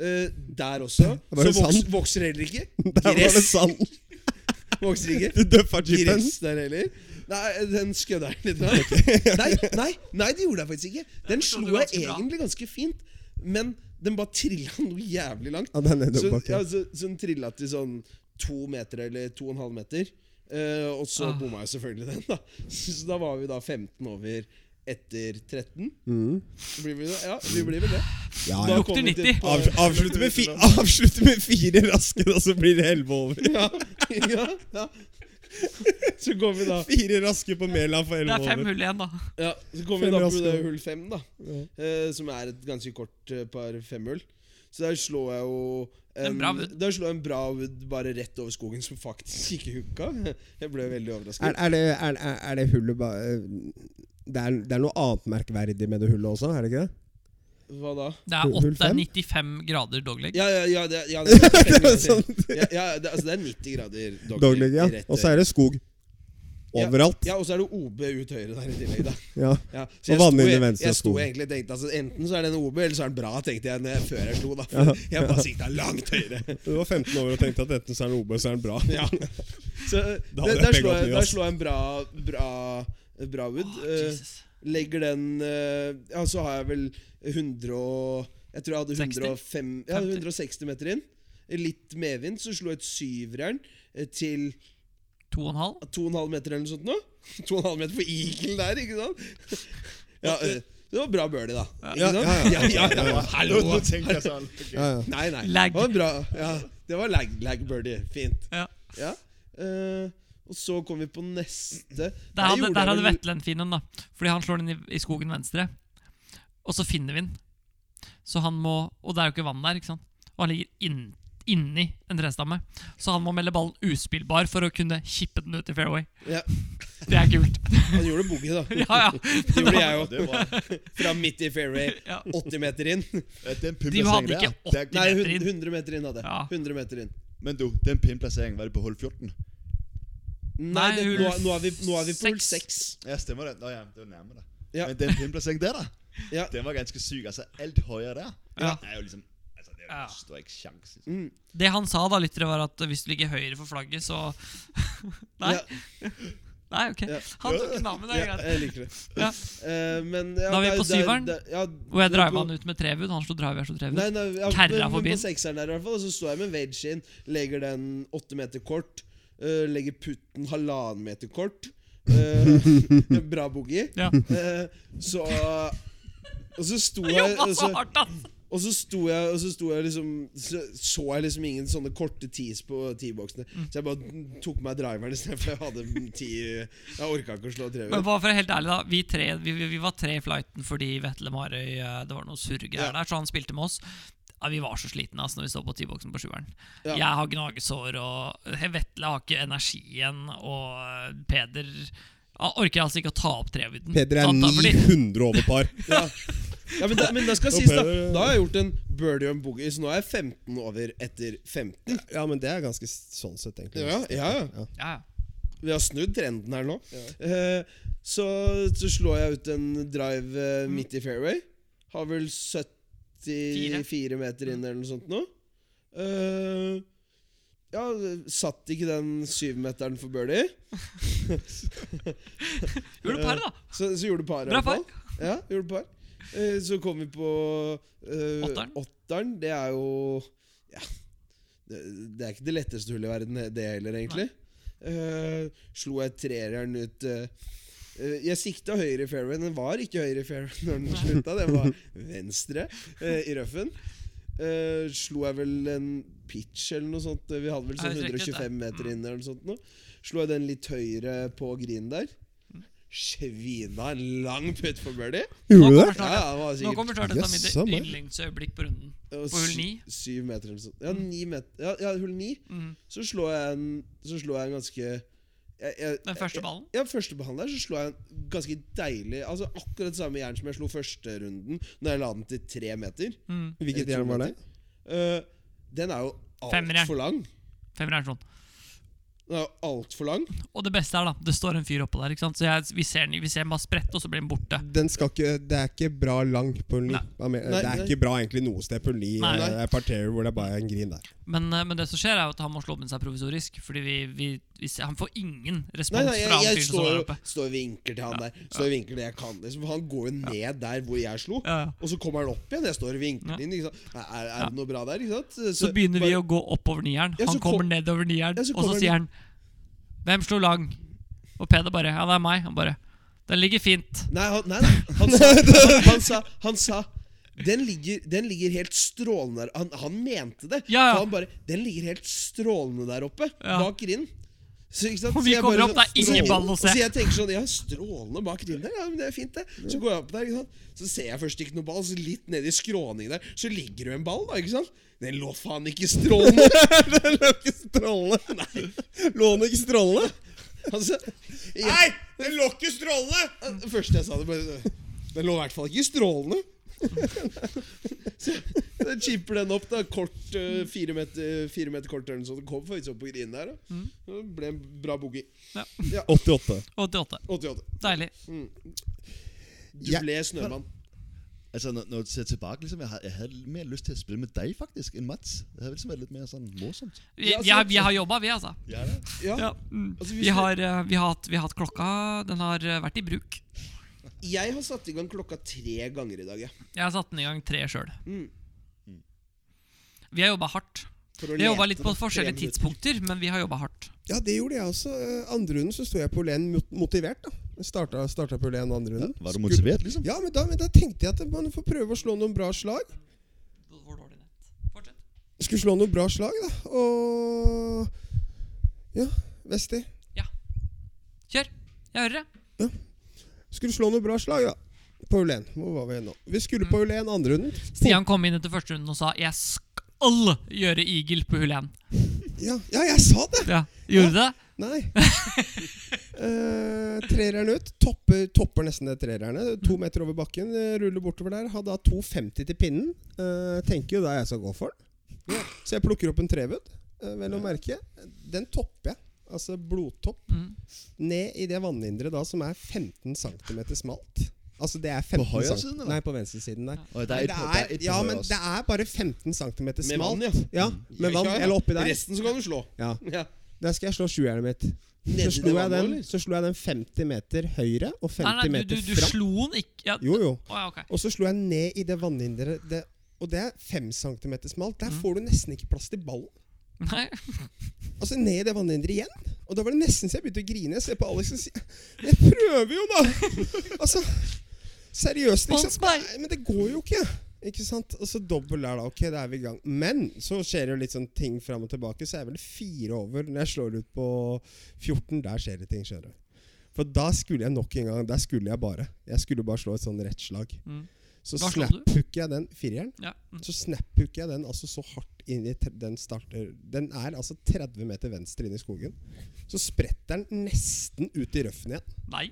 Speaker 3: Eh, der også.
Speaker 2: var
Speaker 3: Så
Speaker 2: det
Speaker 3: voks,
Speaker 2: sand.
Speaker 3: vokser heller ikke.
Speaker 2: Der var det
Speaker 3: Gress
Speaker 2: sand.
Speaker 3: vokser
Speaker 2: Du
Speaker 3: ikke.
Speaker 2: døffa chipen.
Speaker 3: Gress der heller. Nei, den skødda jeg litt. da. Nei, nei, nei, det gjorde jeg faktisk ikke. Den
Speaker 1: forstod
Speaker 3: slo
Speaker 1: du
Speaker 3: jeg
Speaker 1: ganske bra.
Speaker 3: egentlig ganske fint, men den bare trilla noe jævlig langt.
Speaker 2: Ja, den er
Speaker 3: Så,
Speaker 2: nedoverbakke.
Speaker 3: ja, så, så den trilla til sånn to meter eller to og en halv meter. Eh, og så
Speaker 1: Ah.
Speaker 3: bomma jeg selvfølgelig den, da. Så, så da var vi da 15 over etter 13. Blir vi det? Ja, vi blir vel det.
Speaker 2: Mm. Ja,
Speaker 3: Da
Speaker 2: ja.
Speaker 3: kom vi til
Speaker 1: 90.
Speaker 3: par-
Speaker 2: Av, avslutte, med fi, avslutte med fire raske, da, så blir det elleve over.
Speaker 3: ja, ja, ja. Så går vi da
Speaker 2: Fire raske på Mæland for
Speaker 1: Det
Speaker 2: elleve
Speaker 1: er fem
Speaker 2: over.
Speaker 1: hull igjen, da.
Speaker 3: ja, Så kommer
Speaker 2: Fem
Speaker 3: vi da på
Speaker 2: raske.
Speaker 3: det hull fem, da. Eh, som er et ganske kort eh, par femhull. Så der slår jeg jo
Speaker 1: En bra wood.
Speaker 3: Der slår jeg en bra wood bare rett over skogen, som faktisk ikke hooka. Jeg ble veldig overrasket.
Speaker 2: Er, er, det, er, er- er det hullet ba, eh, det, er, det er noe annet merkverdig med det hullet også, er det ikke det?
Speaker 3: Hva da?
Speaker 1: Det er
Speaker 2: Hull
Speaker 1: 8, det er
Speaker 2: fem?
Speaker 1: 95 grader dogleg.
Speaker 3: Ja, ja, ja, det, ja, det, er fem
Speaker 2: Det er
Speaker 3: grader. ja, ja det, altså, det er 90 grader dogleg.
Speaker 2: Dogleg, ja.
Speaker 3: rett
Speaker 2: Og så er det skog
Speaker 3: Ja,
Speaker 2: overalt.
Speaker 3: Ja, og så er det OB ut høyre der i tillegg, da.
Speaker 2: Ja.
Speaker 3: Ja,
Speaker 2: Og
Speaker 3: så jeg
Speaker 2: vanlig
Speaker 3: sto-
Speaker 2: under venstre
Speaker 3: Jeg, jeg sto
Speaker 2: sko.
Speaker 3: egentlig og tenkte altså, enten så er det en OB, eller så er den bra, tenkte jeg når jeg, før jeg slo. da For Jeg bare sikta langt høyre.
Speaker 2: Du var 15 år og tenkte at enten så er den OB, så er den bra.
Speaker 3: Ja. Så
Speaker 2: Da
Speaker 3: der,
Speaker 2: hadde jeg
Speaker 3: der,
Speaker 2: pegget
Speaker 3: slår
Speaker 2: opp
Speaker 3: jeg,
Speaker 2: mye,
Speaker 3: der
Speaker 2: ass.
Speaker 3: slår jeg en bra, bra, bra wood. Eh,
Speaker 1: Jesus.
Speaker 3: legger den eh, Ja, så har jeg vel 100 og Jeg tror jeg hadde 105, ja,
Speaker 1: 50.
Speaker 3: 160 meter inn. Litt medvind, så slo jeg et syvjern eh, til
Speaker 1: To og en halv.
Speaker 3: 2,5 meter eller noe sånt nå. 2,5 meter for eagle der, ikke sant? Ja, eh, det var bra birdie, da. Ikke sant? Ja, ja, ja, Hallo!
Speaker 4: sånn,
Speaker 2: Ja, ja.
Speaker 3: Nei, nei.
Speaker 1: Lag.
Speaker 3: Det var bra. Ja, det var lag, lag birdie. Fint.
Speaker 1: Ja.
Speaker 3: Ja. eh, og så kom vi på neste.
Speaker 1: Der hadde,
Speaker 3: gjorde
Speaker 1: der
Speaker 3: jeg
Speaker 1: hadde
Speaker 3: vel-
Speaker 1: Vetle en fin en, da. Fordi han slår den i, i skogen venstre. Og så finner vi den. Så han må Og det er jo ikke vann der, ikke sant? Og han ligger inn, inni en trestamme. Så han må melde ballen uspillbar for å kunne kippe den ut i fairway.
Speaker 3: Ja,
Speaker 1: Det er kult.
Speaker 3: han gjorde boogie, da.
Speaker 1: Ja, ja.
Speaker 3: Det gjorde jeg
Speaker 4: Ja,
Speaker 3: jo.
Speaker 4: det var
Speaker 3: Fra midt i fairway.
Speaker 1: ja.
Speaker 3: 80 meter inn.
Speaker 4: Den
Speaker 1: De hadde
Speaker 4: pimplasseringen
Speaker 1: ikke
Speaker 4: der. Det
Speaker 1: 80
Speaker 4: er,
Speaker 3: Nei, hun-
Speaker 1: meter inn.
Speaker 3: 100 meter inn hadde jeg.
Speaker 1: Ja.
Speaker 3: 100 meter inn.
Speaker 4: men du, den pimplasseringen, var det på hull 14?
Speaker 3: Nei,
Speaker 1: Nei,
Speaker 3: det,
Speaker 1: hull
Speaker 3: nå, nå er vi, nå er vi på hull
Speaker 1: seks.
Speaker 3: 6.
Speaker 4: Ja, stemmer det. Nå, ja, det var nærmere da.
Speaker 3: Ja.
Speaker 4: Men den pimplasseringen der, da,
Speaker 3: Ja.
Speaker 4: den var ganske syk. Altså, alt høyere der,
Speaker 1: Ja.
Speaker 4: det er jo liksom Altså, det er
Speaker 1: Ja.
Speaker 4: jo står ikke sjans. Liksom.
Speaker 3: Mm.
Speaker 1: Det han sa, da, lyttere, var at hvis du ligger høyre for flagget, så Nei.
Speaker 3: Ja.
Speaker 1: Nei, ok.
Speaker 3: Ja.
Speaker 1: Han tok en dame, det er
Speaker 3: Ja,
Speaker 1: greit.
Speaker 3: jeg liker det.
Speaker 1: Ja.
Speaker 3: Eh, men, ja,
Speaker 1: Da er vi
Speaker 3: der-
Speaker 1: på
Speaker 3: der-
Speaker 1: syveren,
Speaker 3: der- ja,
Speaker 1: Hvor jeg
Speaker 3: der
Speaker 1: driver
Speaker 3: på-
Speaker 1: han ut med trevud. Han slo driver, jeg slo trevud.
Speaker 3: Nei, nei, ja,
Speaker 1: Kerra
Speaker 3: men- men
Speaker 1: forbi.
Speaker 3: På sekseren der i hvert fall, og så står jeg med wedge inn, legger den åtte meter kort, eh, legger putten halvannen meter kort. eh, bra boogie.
Speaker 1: Ja.
Speaker 3: Eh, så Og så sto
Speaker 1: Han
Speaker 3: jeg
Speaker 1: jobba
Speaker 3: og
Speaker 1: så
Speaker 3: så,
Speaker 1: hardt, ass!
Speaker 3: og så sto jeg, og så sto jeg liksom så, så jeg liksom ingen sånne korte tees på teeboksene.
Speaker 1: Mm.
Speaker 3: Så jeg bare tok meg driveren istedenfor jeg hadde ti Jeg orka ikke å slå treet.
Speaker 1: Men bare for å være helt ærlig da Vi, tre, vi, vi, vi var tre i flighten fordi Vetle Marøy eh, Det var noe surrgreier
Speaker 3: Ja.
Speaker 1: der, så han spilte med oss. Ja, vi var så slitne altså, når vi så på T-boksen på sjueren.
Speaker 3: Ja.
Speaker 1: Jeg har gnagesår, og eh, Vetle har ikke energien, og eh, Peder han orker altså ikke å ta opp trevuden.
Speaker 2: Peder er
Speaker 1: Sant da? Fordi-
Speaker 2: 900 over par.
Speaker 3: Ja. Ja, men, da, men da skal
Speaker 2: Og
Speaker 3: sies da
Speaker 2: Peder-
Speaker 3: Da har jeg gjort en birdie og en boogie, så nå er jeg 15 over etter 15.
Speaker 2: Ja, men det er ganske s- sånn sett, egentlig.
Speaker 3: Ja, ja, ja.
Speaker 1: Ja, ja.
Speaker 3: Vi har snudd trenden her nå. Eh, så, så slår jeg ut en drive eh,
Speaker 1: Mm.
Speaker 3: midt i fairway. Har vel 74 meter
Speaker 1: Mm.
Speaker 3: inn eller noe sånt nå. Eh, ja, satt ikke den syvmeteren for birdie.
Speaker 1: Gjorde par, da.
Speaker 3: Så, så gjorde par. i
Speaker 1: Bra
Speaker 3: hvert fall. Ja, gjorde par. Eh, så kom vi på eh,
Speaker 1: Åtteren.
Speaker 3: åtteren. Det er jo Ja. Det, det er ikke det letteste hullet i verden, det heller, egentlig. Eh, slo jeg treeren ut eh, eh, Jeg sikta høyre i fairwayen. Den var ikke høyre i fairwayen når den slutta. Den var venstre eh, i røffen. Eh, slo jeg vel en pitch eller noe sånt. Vi hadde vel
Speaker 1: Ja,
Speaker 3: sånn
Speaker 1: vi trekket det.
Speaker 3: 125
Speaker 1: Mm.
Speaker 3: meter inn eller noe sånt. Nå. Slo jeg den litt høyre på green der.
Speaker 1: Mm.
Speaker 3: Svina en lang putt for birdie.
Speaker 1: Nå
Speaker 5: Gjorde du det?
Speaker 1: kommer
Speaker 3: Ja,
Speaker 1: snart,
Speaker 3: ja, det var
Speaker 1: nå
Speaker 3: sikkert
Speaker 1: kommer snart et av
Speaker 5: Jøss,
Speaker 1: mine
Speaker 5: sa meg.
Speaker 1: yndlingsøyeblikk på runden.
Speaker 3: det var
Speaker 1: på hull
Speaker 3: sy-
Speaker 1: ni? Mm.
Speaker 3: Syv meter eller noe sånt. Ja, ni meter Ja, ja hull ni. Så slår jeg en Så slår jeg en ganske jeg, jeg,
Speaker 1: Den første ballen?
Speaker 3: Jeg, ja, første ballen der så slår jeg en ganske deilig Altså Akkurat samme jern som jeg slo første runden, når jeg la den til tre meter.
Speaker 2: Hvilket
Speaker 3: Eller to
Speaker 2: jern var det?
Speaker 3: meter. Eh, den er jo
Speaker 1: Femmeren.
Speaker 3: altfor lang.
Speaker 1: Femmer er sånn.
Speaker 3: Den er jo altfor lang.
Speaker 1: Og det beste er, da, det står en fyr oppå der. ikke sant? Så jeg, vi ser den vi ser den bare sprette, og så blir den borte.
Speaker 2: Den skal ikke, det er ikke bra lang på en li.
Speaker 1: Nei.
Speaker 2: Hva mener-
Speaker 3: Nei,
Speaker 2: Det er
Speaker 3: nei.
Speaker 2: ikke bra egentlig noe sted på en li.
Speaker 1: Nei.
Speaker 2: eh, parterre hvor det bare er en grin der.
Speaker 1: Men, eh, men det som skjer, er jo at han må slå med seg provisorisk. Fordi vi, vi, vi ser, han får ingen respons
Speaker 3: Nei, nei, jeg,
Speaker 1: fra han
Speaker 3: jeg
Speaker 1: fyren som
Speaker 3: står
Speaker 1: var
Speaker 3: og
Speaker 1: oppe.
Speaker 3: står og vinker til han der. Står og vinker det jeg kan liksom, For Han går jo ned der hvor jeg slo,
Speaker 1: Ja, ja.
Speaker 3: og så kommer han opp igjen. Jeg står og vinker
Speaker 1: Ja.
Speaker 3: inn. Ikke sant? Er, er er
Speaker 1: Ja.
Speaker 3: det noe bra der? Ikke sant?
Speaker 1: Så begynner vi å
Speaker 3: bare-
Speaker 1: gå oppover nieren.
Speaker 3: Ja, så
Speaker 1: Han kommer
Speaker 3: kom-
Speaker 1: nedover nieren,
Speaker 3: Ja, så
Speaker 1: og
Speaker 3: kommer
Speaker 1: så sier han Hvem slo lang? Og Peder bare Ja, det er meg. Han bare Den ligger fint.
Speaker 3: Nei, han, nei, nei. Han, sa, han, han sa Han sa den ligger, den ligger helt strålende der Han, han mente det.
Speaker 1: Ja, ja.
Speaker 3: For han bare Den ligger helt strålende der oppe,
Speaker 1: Ja.
Speaker 3: bak grind. Så, ikke sant?
Speaker 1: Og
Speaker 3: Så
Speaker 1: vi
Speaker 3: jeg
Speaker 1: kommer
Speaker 3: bare
Speaker 1: opp, det er
Speaker 3: sånn-
Speaker 1: ingen
Speaker 3: så-
Speaker 1: ball å se.
Speaker 3: Så jeg tenker sånn Ja, strålende bak grind der. Ja, men det er fint, det. Så går jeg opp der, ikke sant. Så ser jeg først ikke noe ball. Så litt nedi skråningen der, så ligger det jo en ball, da, ikke sant. Den lå faen ikke strålende.
Speaker 2: Den lå ikke strålende!
Speaker 3: Nei.
Speaker 2: Lå den ikke strålende?
Speaker 3: Altså, jeg,
Speaker 2: Nei! Den lå ikke strålende!
Speaker 3: Det første jeg sa, det bare Den lå i hvert fall ikke strålende. Så jeg chipper den opp, da. Kort, eh, fire meter, fire meter kort eller noe sånt. Den Kom faktisk opp på grinen der. Da. Det ble en bra boogie.
Speaker 1: Ja.
Speaker 2: 88.
Speaker 1: 88.
Speaker 3: 88.
Speaker 1: Deilig.
Speaker 3: Du
Speaker 2: Ja.
Speaker 3: ble snømann.
Speaker 4: Altså, når, når jeg ser tilbage, liksom, jeg, har, jeg havde lidt mere lyst til at spille med dig, faktisk, end Mats. Det liksom havde ligesom været lidt mere sådan sånn morsomt.
Speaker 1: Vi,
Speaker 3: Ja,
Speaker 1: vi,
Speaker 3: så-
Speaker 1: har- vi har jobba, vi, altså.
Speaker 4: Ja, da.
Speaker 3: Ja.
Speaker 1: Ja. Mm.
Speaker 3: Altså, hvis
Speaker 1: Vi,
Speaker 3: det-
Speaker 1: har, eh, vi, har hatt, vi har hatt klokka. Den har eh, vært i bruk.
Speaker 3: Jeg har satt i gang klokka tre ganger i dag. Jeg,
Speaker 1: Jeg har satt den i gang tre sjøl.
Speaker 3: Mm.
Speaker 1: Vi har jobba hardt.
Speaker 3: for å
Speaker 1: Vi har jobba
Speaker 3: lete
Speaker 1: litt på
Speaker 3: da, tre
Speaker 1: forskjellige
Speaker 3: minutter.
Speaker 1: tidspunkter, men vi har jobba hardt.
Speaker 2: Ja, det gjorde jeg også. Eh, Andre runden så sto jeg på Len mot- motivert. da Jeg Starta, starta på Len andre runden.
Speaker 4: Var du motiveret, ligesom?
Speaker 2: Ja, men da, men da tenkte jeg at man får prøve å slå noen bra slag.
Speaker 1: Fortsett.
Speaker 2: Skulle slå noen bra slag, da. Og Ja, Vesti.
Speaker 1: Kjør. Jeg hører det.
Speaker 2: Skulle slå noen bra slag, da. På Ulen. Hvor var vi nå? Vi skulle på Ulen andre runden.
Speaker 1: Stian kom inn etter første runden og sa 'jeg skal gjøre eagle på hull 1'.
Speaker 2: Ja, ja, jeg sa det!
Speaker 1: Ja. Gjorde du det?
Speaker 2: Nei. Eh, Trereren ut. Topper, topper nesten det trererne. To meter over bakken, eh, ruller bortover der. Har da 2,50 til pinnen. Eh, tenker jo da jeg skal gå for den. Så jeg plukker opp en trevud, eh, vel å merke. Den topper jeg. Altså blodtopp.
Speaker 1: Mm.
Speaker 2: Ned i det vannhinderet da som er 15 cm smalt. Altså det er 15
Speaker 4: høyre
Speaker 2: cent-
Speaker 4: siden, eller?
Speaker 2: Nei, på venstresiden der.
Speaker 4: Og der er
Speaker 2: Men
Speaker 4: et, på- der er
Speaker 2: det er, altså.
Speaker 4: et på
Speaker 2: ja,
Speaker 4: højre
Speaker 2: men
Speaker 4: også.
Speaker 2: det er bare 15 cm
Speaker 3: Med vann,
Speaker 2: smalt.
Speaker 3: ja.
Speaker 2: Ja,
Speaker 4: Mm.
Speaker 2: med vann, eller oppi der.
Speaker 3: Resten så kan du slå.
Speaker 2: Ja.
Speaker 3: Ja.
Speaker 2: Der skal jeg slå sjujernet mitt.
Speaker 3: Nedi
Speaker 2: Så slo,
Speaker 3: det
Speaker 2: jeg
Speaker 3: vannet,
Speaker 2: den,
Speaker 3: eller?
Speaker 2: så slo jeg den 50 meter høyre og 50
Speaker 1: Nei, nei, du,
Speaker 2: meter
Speaker 1: du, du
Speaker 2: fram.
Speaker 1: slo den ikke ja.
Speaker 2: Jo, jo.
Speaker 1: Å, ja, ok.
Speaker 2: Og så slo jeg ned i det vannhinderet. Det, og det er 5 cm
Speaker 1: Mm.
Speaker 2: smalt. Der får du nesten ikke plass til ballen.
Speaker 1: Nei.
Speaker 2: Altså ned i det vannhinderet igjen. Og da var det nesten så jeg begynte å grine. Jeg ser på Alex og sier Jeg prøver jo, da! altså Seriøst,
Speaker 1: Spons
Speaker 2: liksom.
Speaker 1: meg!
Speaker 2: Nei, men det går jo ikke. Ikke sant? Og så dobbel der, da. Ok, da er vi i gang. Men så skjer det jo litt sånn ting fram og tilbake. Så er jeg vel fire over når jeg slår ut på 14. Der skjer det ting, skjønner du. For da skulle jeg nok en gang Der skulle jeg bare. Jeg skulle bare slå et sånn rett slag.
Speaker 1: Mm.
Speaker 2: Så
Speaker 1: Hva slo du?
Speaker 2: snap-hooker jeg den fireren.
Speaker 1: Ja. Mm.
Speaker 2: Så snaphooker jeg den altså så hardt inn i tre- Den starter Den er altså 30 meter venstre inn i skogen. Så spretter den nesten ut i røffen igjen.
Speaker 1: nei.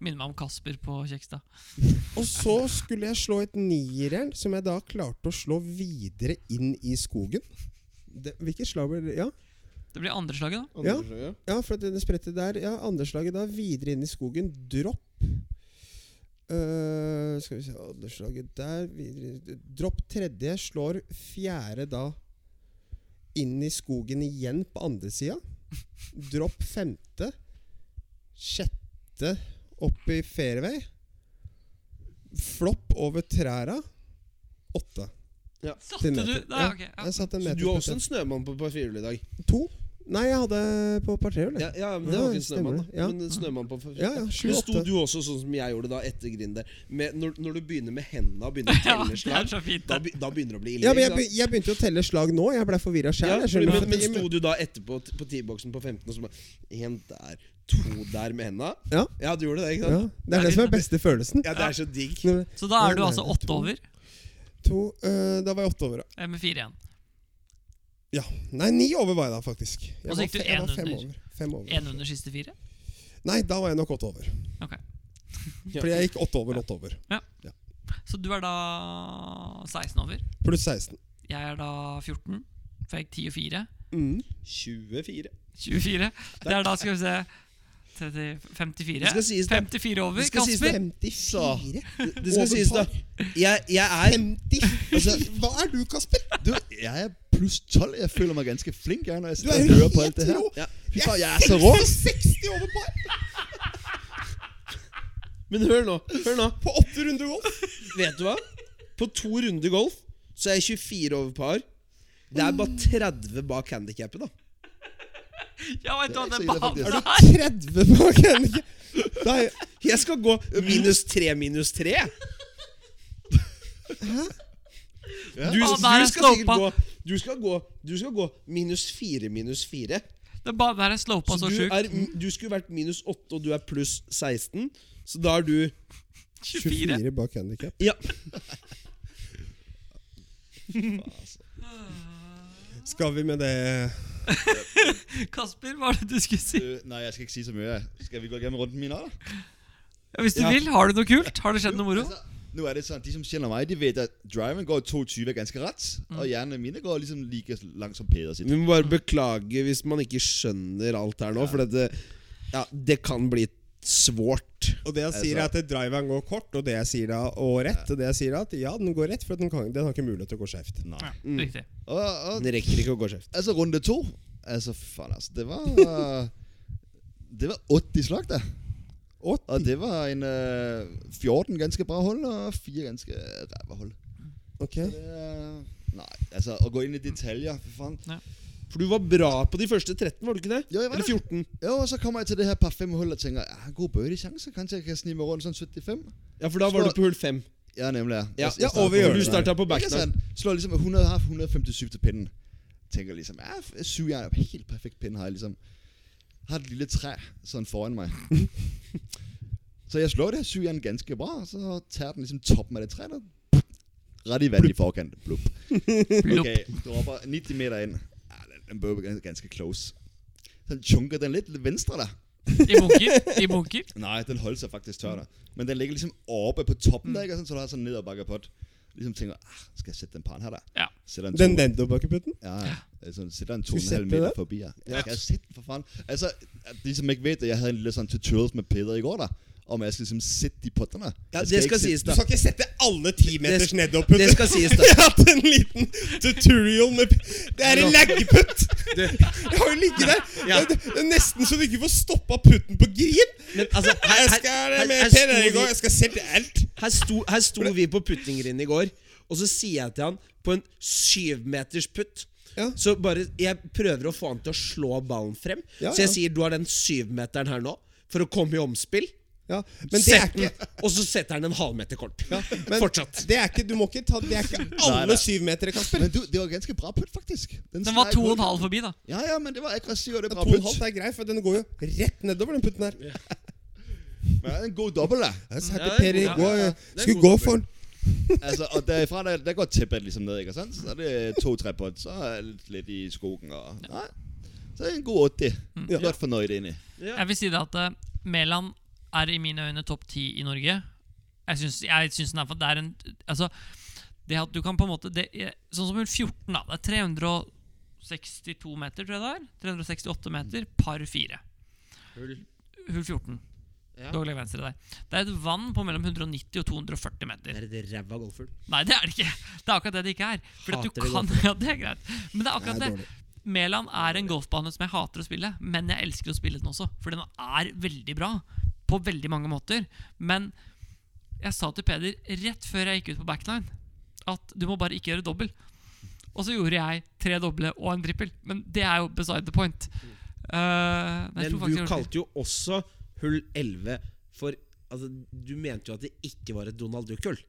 Speaker 1: Minner meg om Kasper på Kjekstad.
Speaker 2: Og så skulle jeg slå et nierjern, som jeg da klarte å slå videre inn i skogen. Det, hvilket slag ble det? Ja,
Speaker 1: Det blir andre slaget, da.
Speaker 2: Ja.
Speaker 3: Andre slaget.
Speaker 2: ja for at det sprettet der Ja, andre slaget da. Videre inn i skogen. Dropp. Eh, skal vi se Andre slaget der. Videre Dropp tredje. Slår fjerde da inn i skogen igjen på andre sida. Dropp femte. Sjette opp i fairway. Flopp over træra. Åtte.
Speaker 1: Satte du
Speaker 2: meter.
Speaker 1: Nei, ok. Ja.
Speaker 2: Jeg satt en
Speaker 3: Så
Speaker 2: meter
Speaker 3: du har
Speaker 2: på
Speaker 3: også en snømann på parfyrehjul i dag.
Speaker 2: tre. To? Nei, jeg hadde på partrehjul. jeg.
Speaker 3: Ja, ja, men det var
Speaker 2: Ja,
Speaker 3: ikke en snømann, da.
Speaker 2: stemmer det. Ja.
Speaker 3: Men en snømann på parfyrehjul.
Speaker 2: Ja, ja, sju,
Speaker 3: Men sto
Speaker 2: åtte.
Speaker 3: du også sånn som jeg gjorde da, etter grind der? Med, når, når du begynner med hendene og begynner å
Speaker 1: Ja,
Speaker 3: telle
Speaker 1: det er
Speaker 3: slag,
Speaker 1: så fint.
Speaker 3: da,
Speaker 1: Da.
Speaker 3: be- da begynner det å bli ille.
Speaker 2: Ja, men jeg,
Speaker 3: ikke sant?
Speaker 2: be- jeg begynte jo å telle slag nå. Jeg blei forvirra
Speaker 3: Ja,
Speaker 2: sjæl.
Speaker 3: fordi- men, men sto du da etterpå t- på T-boksen på 15 og så bare Én der, to der med henda?
Speaker 2: Ja.
Speaker 3: ja, du gjorde det, ikke
Speaker 2: ja,
Speaker 3: sant?
Speaker 2: det er det som er beste følelsen.
Speaker 3: Ja, det er så digg.
Speaker 2: Når-
Speaker 1: Så da er du
Speaker 2: Nei,
Speaker 1: altså
Speaker 2: nei,
Speaker 1: åtte
Speaker 2: to.
Speaker 1: over
Speaker 2: To, eh, da var jeg åtte over.
Speaker 1: eh, med fire igjen.
Speaker 2: Ja. Nei, ni over var jeg da, faktisk. Jeg
Speaker 1: Og så
Speaker 2: var
Speaker 1: gikk du
Speaker 2: fe- jeg
Speaker 1: en
Speaker 2: var fem
Speaker 1: under.
Speaker 2: over. Fem over.
Speaker 1: Én under siste fire.
Speaker 2: Nei, da var jeg nok åtte over.
Speaker 1: Ok.
Speaker 2: Fordi jeg gikk åtte over, åtte over.
Speaker 1: Så du er da 16 over.
Speaker 2: Pluss 16.
Speaker 1: Jeg er da 14. For jeg gikk 10 og 4.
Speaker 3: 24.
Speaker 1: 24. Det er da, skal vi se 30, 54.
Speaker 3: Det skal sies det.
Speaker 1: 54 over.
Speaker 3: Det skal sies
Speaker 1: Kasper.
Speaker 2: 54?
Speaker 3: Det skal
Speaker 2: Over
Speaker 3: sies, da.
Speaker 2: par.
Speaker 3: Jeg, jeg er
Speaker 2: 54? Hva er du, Kasper?
Speaker 4: Du, jeg er pluss 12. Jeg føler meg ganske flink jeg, når jeg
Speaker 2: Du
Speaker 4: sitter
Speaker 2: er
Speaker 4: og
Speaker 2: jo
Speaker 4: hører på
Speaker 2: helt
Speaker 4: alt det her.
Speaker 2: rå!
Speaker 3: ja.
Speaker 4: Fy faen, jeg er så rå!
Speaker 2: 60 over par
Speaker 3: Men hør nå. Hør nå.
Speaker 2: på 800 golf!
Speaker 3: Vet du hva? På to runder golf så er jeg 24 over par. Det er bare 30 bak handikappet, da.
Speaker 1: Ja, vet du hva,
Speaker 4: Det er
Speaker 1: den
Speaker 4: ikke så ille,
Speaker 1: banen
Speaker 4: faktisk.
Speaker 1: der!
Speaker 2: 30 bak Henrik. Da er jeg-
Speaker 3: Jeg skal gå minus 3, minus 3. Du, du,
Speaker 1: Å, der er
Speaker 3: skal sikkert
Speaker 1: slopa.
Speaker 3: gå, du, skal gå, du skal gå minus 4, minus 4.
Speaker 1: Den banen der er altså, slopa
Speaker 3: Så
Speaker 1: så
Speaker 3: du,
Speaker 1: sjukt.
Speaker 3: er, du skulle vært minus 8, og du er pluss 16. Så da er du
Speaker 1: 24.
Speaker 2: 24 bak handikap.
Speaker 3: Ja.
Speaker 2: Skal vi med det
Speaker 1: Kasper, hva er det du skulle si?
Speaker 4: Øh, nei, jeg skal ikke si så mye. Skal vi gå gjennom runden min nå, da?
Speaker 1: Ja, hvis du
Speaker 3: Ja.
Speaker 1: vil, har du noe kult? Har det skjedd noe moro?
Speaker 4: Altså, nu er det sådan, de som kender mig, de ved, at driven går 22 er ganske ret, og hjernen mine går ligesom lige så langt som Peder sit.
Speaker 3: Vi må bare beklage hvis man ikke skjønner alt her nå, for dette, ja, det kan bli svårt. Altså.
Speaker 2: Og det jeg sier er at driveren går kort, og det jeg sier da, og rett, og det jeg sier da, at ja, den går rett, for at den, kan, den har ikke mulighet til å gå skjevt.
Speaker 1: Ja,
Speaker 4: Nej.
Speaker 3: Mm.
Speaker 1: riktig.
Speaker 4: Og, og,
Speaker 3: Det rekker ikke å gå skjevt.
Speaker 4: altså runde to, altså fan altså, det var, det var 80 slag der.
Speaker 2: 80.
Speaker 4: Og det var en øh, 14 ganske bra hold, og 4 ganske ræverhold.
Speaker 2: Ok.
Speaker 4: Det er- Nej, altså at gå ind i detaljer, for fanden.
Speaker 3: For du var bra på de første 13, var du ikke det?
Speaker 4: Jo, jeg var
Speaker 3: Eller 14?
Speaker 4: Jo, og så kommer jeg til det her par 5 hul og tænker, jeg har en god birdie chance, kanskje jeg kan snige mig rundt sådan 75?
Speaker 3: Ja, for da var
Speaker 4: Slå-
Speaker 3: du på hull 5.
Speaker 4: sånn Ja, nemlig. Ja,
Speaker 3: Ja,
Speaker 4: Jeg- jeg
Speaker 3: ja,
Speaker 4: starter
Speaker 3: og vi
Speaker 4: på
Speaker 3: gjør det.
Speaker 4: 100.
Speaker 3: Du starter på
Speaker 4: Ikke
Speaker 3: backdoor.
Speaker 4: sant? Slår liksom 100, har 157 til pinnen. Tænker ligesom, ja, f- syv jern er helt perfekt pin har jeg ligesom. Har et lille træ sådan foran mig. så jeg slår det her syv jern ganske bra, og så tager den ligesom toppen af det træ, der ret i vand i forkant. Blup.
Speaker 1: Blup.
Speaker 4: Okay, dropper 90 meter ind. Ja, den, den bør være ganske close. Så chunker den lidt til venstre der.
Speaker 1: I bunker. I bunker.
Speaker 4: Nej, den holdt sig faktisk tør der. Men den ligger ligesom oppe på toppen der, ikke? Og sådan, så du har sådan ned og bakker på det. Ligesom tænker, ah, skal jeg sætte den paren her der?
Speaker 1: Ja.
Speaker 4: Sætter en
Speaker 2: Den
Speaker 4: to-
Speaker 2: Nendo-bakkeputten?
Speaker 4: Ja, ja. Altså, sætter en
Speaker 2: Skal vi
Speaker 4: 2,5
Speaker 2: sætte
Speaker 4: meter
Speaker 2: den?
Speaker 4: forbi her. Ja. Skal jeg sætte den for fanden? Altså, at de som ikke ved det, jeg havde en lille sådan tutorials med Peder i går der, om jeg skal ligesom sætte de potterne.
Speaker 3: Ja,
Speaker 4: Jeg
Speaker 3: det
Speaker 4: ikke
Speaker 3: skal
Speaker 4: sætte-
Speaker 3: sies,
Speaker 2: Du
Speaker 3: da.
Speaker 2: skal ikke sette alle timeters
Speaker 3: Det-
Speaker 2: Nendo-putt.
Speaker 3: det skal sies, da.
Speaker 2: Jeg har hatt en liten tutorial med Det er en laggeputt! Jeg har jo ligget der.
Speaker 3: Ja.
Speaker 2: Det det er nesten så du ikke får stoppa putten på grin.
Speaker 3: Men altså, her,
Speaker 2: Jeg
Speaker 3: her,
Speaker 2: skal
Speaker 3: her,
Speaker 2: med
Speaker 3: her,
Speaker 2: Per
Speaker 3: sto
Speaker 2: Ergo,
Speaker 3: vi,
Speaker 2: jeg skal sette alt.
Speaker 3: her, sto, her sto vi på puttinggrind i går, og så sier jeg til han på en syvmeters putt
Speaker 2: Ja.
Speaker 3: Så bare, Jeg prøver å få han til å slå ballen frem.
Speaker 2: Ja,
Speaker 3: Så jeg
Speaker 2: ja.
Speaker 3: sier du har den syvmeteren her nå for å komme i omspill.
Speaker 2: Ja, men det er
Speaker 3: Sett
Speaker 2: ikke
Speaker 3: den, og så setter han en halvmeter kort.
Speaker 2: men
Speaker 3: Fortsatt.
Speaker 2: Det er ikke, du må ikke ta Det er ikke
Speaker 4: Nei,
Speaker 2: alle
Speaker 4: nei.
Speaker 2: syvmetere, Kasper.
Speaker 4: Men du, det var ganske bra putt, faktisk.
Speaker 1: Den var
Speaker 4: streg
Speaker 1: to og en
Speaker 4: mål.
Speaker 1: halv forbi, da.
Speaker 4: Ja, ja, men det var aggressivt, og det er bra
Speaker 2: To og en
Speaker 4: putt.
Speaker 2: halvt er grei, for den går jo rett nedover, den putten her.
Speaker 4: Men det er en god dobbelt, da.
Speaker 2: Jeg sa
Speaker 3: Ja,
Speaker 2: til
Speaker 3: det er
Speaker 2: Per i
Speaker 3: god-
Speaker 2: går
Speaker 3: ja, ja.
Speaker 2: jeg
Speaker 3: Det er en
Speaker 2: skulle gå
Speaker 3: god dobbel.
Speaker 2: for den.
Speaker 4: altså, og derfra, der, der går tæppet ligesom ned, ikke sant? Så er det to-tre putt, så er jeg lidt- lidt i skogen, og... Nej. Så er det en god 8. Godt fornøyd egentlig.
Speaker 3: Ja.
Speaker 1: Jeg vil si det at eh, Mæland er i mine øyne topp ti i Norge. Jeg syns, jeg syns den er for Det er en Altså, det at du kan på en måte det er, Sånn som hull 14, da. Det er 362 meter, tror jeg det er. 368 meter, par fire.
Speaker 3: Hull.
Speaker 1: Hull 14.
Speaker 3: Ja.
Speaker 1: Dogleg venstre der. Det er et vann på mellom 190 og 240 meter.
Speaker 3: Det er et ræva golfhull.
Speaker 1: Nei, det er det ikke. Det er akkurat det det ikke er. For at du
Speaker 3: Hater det
Speaker 1: kan, ja, det er greit Men det er akkurat
Speaker 2: Det er
Speaker 1: det. Mæland er en golfbane som jeg hater å spille, men jeg elsker å spille den også. For den er veldig bra på veldig mange måter. Men jeg sa til Peder rett før jeg gikk ut på backline, at du må bare ikke gjøre dobbel. Og så gjorde jeg tre doble og en trippel. Men det er jo beside the point. Eh, men jeg
Speaker 3: Men
Speaker 1: tror faktisk
Speaker 3: du
Speaker 1: jeg gjorde det.
Speaker 3: kalte jo også hull 11 for altså, Du mente jo at det ikke var et Donald Duck-hull.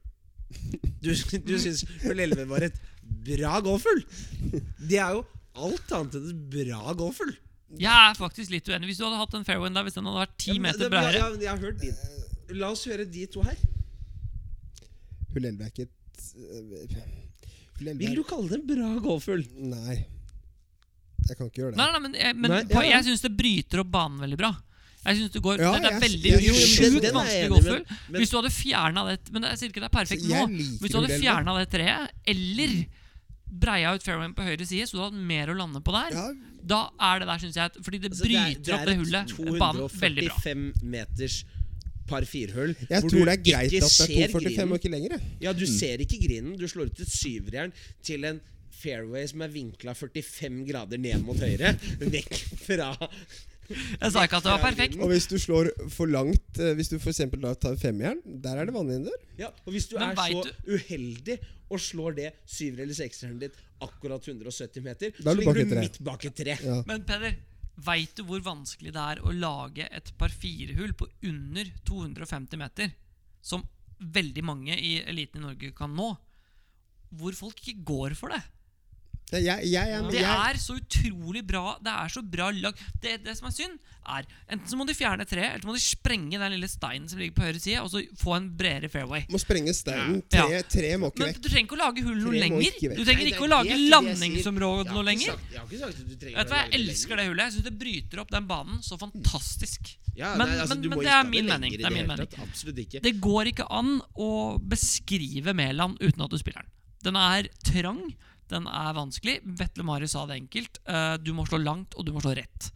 Speaker 3: Du, du syns hull 11 var et bra golfhull! Det er jo alt annet enn et bra golfhull.
Speaker 1: Jeg er faktisk litt uenig. Hvis du hadde hatt den fairwayen der, hvis den hadde vært ti meter
Speaker 3: Ja, men-
Speaker 1: bredere
Speaker 3: ja, men Jeg har hørt din. La oss høre de to her.
Speaker 2: Hull 11 er ikke et øh, Hull 11
Speaker 3: Vil
Speaker 2: er-
Speaker 3: du kalle det en bra golfhull?
Speaker 2: Nei. Jeg kan ikke gjøre det.
Speaker 1: Nei, nei, men, jeg- men
Speaker 3: Nei,
Speaker 1: på,
Speaker 3: ja, ja.
Speaker 1: jeg syns det bryter opp banen veldig bra. Jeg synes det går,
Speaker 2: Ja,
Speaker 1: Det er
Speaker 2: jeg-
Speaker 1: veldig
Speaker 2: jeg-
Speaker 3: jo, men
Speaker 1: sjukt
Speaker 3: den- den er jeg
Speaker 1: vanskelig
Speaker 3: enig
Speaker 1: golfhull.
Speaker 3: med, men-
Speaker 1: Hvis du hadde fjerna det Men jeg sier ikke det er perfekt
Speaker 2: Så
Speaker 1: nå.
Speaker 2: jeg liker
Speaker 1: Hvis du hadde
Speaker 2: Hull 11.
Speaker 1: fjerna det treet, eller breia ut fairwayen på høyre side, så du hadde hatt mer å lande på der,
Speaker 2: Ja.
Speaker 1: da er det der, syns jeg. at- Fordi det
Speaker 3: Altså,
Speaker 1: bryter opp det
Speaker 3: et
Speaker 1: hullet. Banen veldig bra.
Speaker 3: 245 meters par firehull.
Speaker 2: Jeg tror
Speaker 3: hvor du
Speaker 2: det er greit
Speaker 3: ikke
Speaker 2: at det
Speaker 3: ser
Speaker 2: er 2,45
Speaker 3: grinen.
Speaker 2: og ikke lenger. jeg.
Speaker 3: Ja, du ser ikke grinen. Du slår ut et syvjern til en fairway som er vinkla 45 grader ned mot høyre. Vekk fra
Speaker 1: Jeg sa ikke at det var perfekt.
Speaker 2: Og hvis du slår for langt eh, Hvis du for eksempel da tar femjern, der er det vannhinder.
Speaker 3: Ja, og hvis du
Speaker 1: Men
Speaker 3: er
Speaker 1: vet
Speaker 3: så uheldig og slår det syver- eller sekseren ditt akkurat 170 meter,
Speaker 2: Da
Speaker 3: så
Speaker 2: er du bak
Speaker 3: ligger
Speaker 2: et
Speaker 3: du
Speaker 2: tre.
Speaker 3: midt bak et tre.
Speaker 2: Ja.
Speaker 1: Men Peder, veit du hvor vanskelig det er å lage et par firehull på under 250 meter? Som veldig mange i eliten i Norge kan nå. Hvor folk ikke går for det.
Speaker 2: Jeg, jeg, jeg, er-
Speaker 1: Det
Speaker 2: jeg,
Speaker 1: er så utrolig bra. Det er så bra lag. Det, det som er synd, er enten så må de fjerne treet, eller så må de sprenge den lille steinen som ligger på høyre side, og så få en bredere fairway.
Speaker 2: må sprenge steinen.
Speaker 1: Ja.
Speaker 2: Tre, tre må ikke
Speaker 1: Men
Speaker 2: vekk.
Speaker 1: du trenger ikke å lage hull noe
Speaker 2: Treet må
Speaker 1: lenger.
Speaker 2: ikke vekk.
Speaker 1: Du trenger ikke å lage landingsområde noe lenger.
Speaker 3: Jeg har ikke sagt at du trenger
Speaker 1: Vet du hva, Jeg elsker det hullet. Jeg syns det bryter opp den banen så fantastisk.
Speaker 3: Ja,
Speaker 1: Men,
Speaker 3: nei, altså,
Speaker 1: men,
Speaker 3: du må
Speaker 1: men
Speaker 3: ikke
Speaker 1: det
Speaker 3: ha
Speaker 1: er min
Speaker 3: lenger
Speaker 1: mening.
Speaker 3: i
Speaker 1: Det er min
Speaker 3: hele
Speaker 1: mening.
Speaker 3: tatt. Absolutt ikke.
Speaker 1: Det går ikke an å beskrive Mæland uten at du spiller den. Den er trang, den er vanskelig. Vetle Mari sa det enkelt. eh, du må slå langt, og du må slå rett.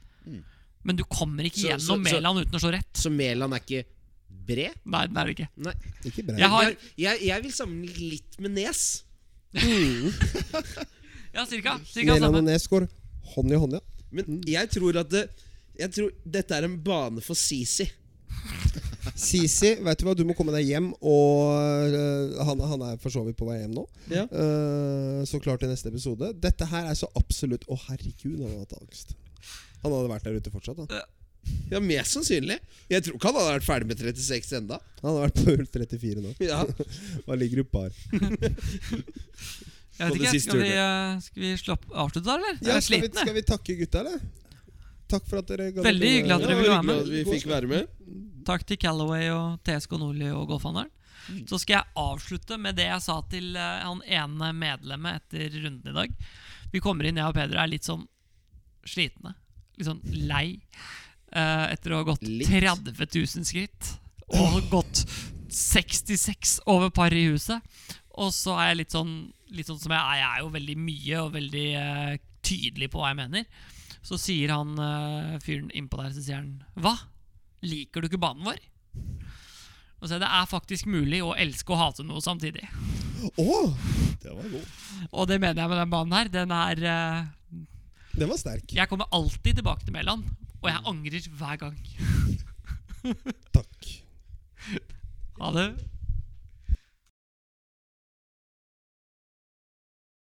Speaker 1: Men du kommer ikke
Speaker 3: Mm. Så- så-
Speaker 1: gjennom
Speaker 3: så-
Speaker 1: Mæland uten å slå rett.
Speaker 3: Så Mæland er ikke bred?
Speaker 1: Nei, den er det ikke.
Speaker 3: Nei.
Speaker 2: Ikke bra.
Speaker 1: Jeg har
Speaker 3: Jeg, jeg, jeg vil sammenligne litt med Nes.
Speaker 1: Ja,
Speaker 3: Mm.
Speaker 1: cirka. cirka
Speaker 2: Mæland og
Speaker 1: samme.
Speaker 2: Nes går hånd i hånd, ja.
Speaker 3: Men jeg tror at det, Jeg tror dette er en bane for Sisi.
Speaker 2: Sisi, vet du hva, du må komme deg hjem. Og øh, han, han er for så vidt på vei hjem nå.
Speaker 3: Ja.
Speaker 2: Eh, så klart i neste episode. Dette her er så absolutt Å, herregud, han hadde hatt angst. Han hadde vært der ute fortsatt. Han,
Speaker 3: Ja, Mest sannsynlig. Jeg tror ikke han hadde vært ferdig med 36 enda
Speaker 2: han hadde vært på hull 34 nå.
Speaker 3: Ja.
Speaker 2: Han ligger i par.
Speaker 1: Jeg
Speaker 3: på
Speaker 1: vet
Speaker 3: det
Speaker 1: ikke,
Speaker 3: siste
Speaker 1: Skal vi, eh, skal vi slappe, avslutte da, eller? Jeg er
Speaker 2: Ja, skal, vi,
Speaker 1: sliten,
Speaker 2: skal
Speaker 1: jeg.
Speaker 2: vi takke gutta, eller? Takk for at dere gadd å
Speaker 1: Veldig
Speaker 2: bli med.
Speaker 1: hyggelig at
Speaker 3: Det
Speaker 1: dere
Speaker 3: var
Speaker 1: ville være med.
Speaker 3: hyggelig at vi fikk være med.
Speaker 1: Takk til Callaway og TSK Nordli og Golfhandelen. Så skal jeg avslutte med det jeg sa til eh, han ene medlemmet etter runden i dag. Vi kommer inn, jeg og Peder er litt sånn slitne. Litt sånn lei. eh, etter å ha gått
Speaker 3: Litt.
Speaker 1: 30 000 skritt. Og gått 66 over par i huset. Og så er jeg litt sånn, litt sånn som jeg er. Jeg er jo veldig mye og veldig eh, tydelig på hva jeg mener. Så sier han eh, fyren innpå der, så sier han Hva? Liker du ikke banen vår? Og så er det er faktisk mulig å elske og hate noe samtidig.
Speaker 2: Å,
Speaker 4: Det var god.
Speaker 1: Og det mener jeg med den banen her. Den er eh,
Speaker 2: den var sterk.
Speaker 1: Jeg kommer alltid tilbake til Mæland, og jeg angrer hver gang.
Speaker 2: Takk.
Speaker 1: Ha det.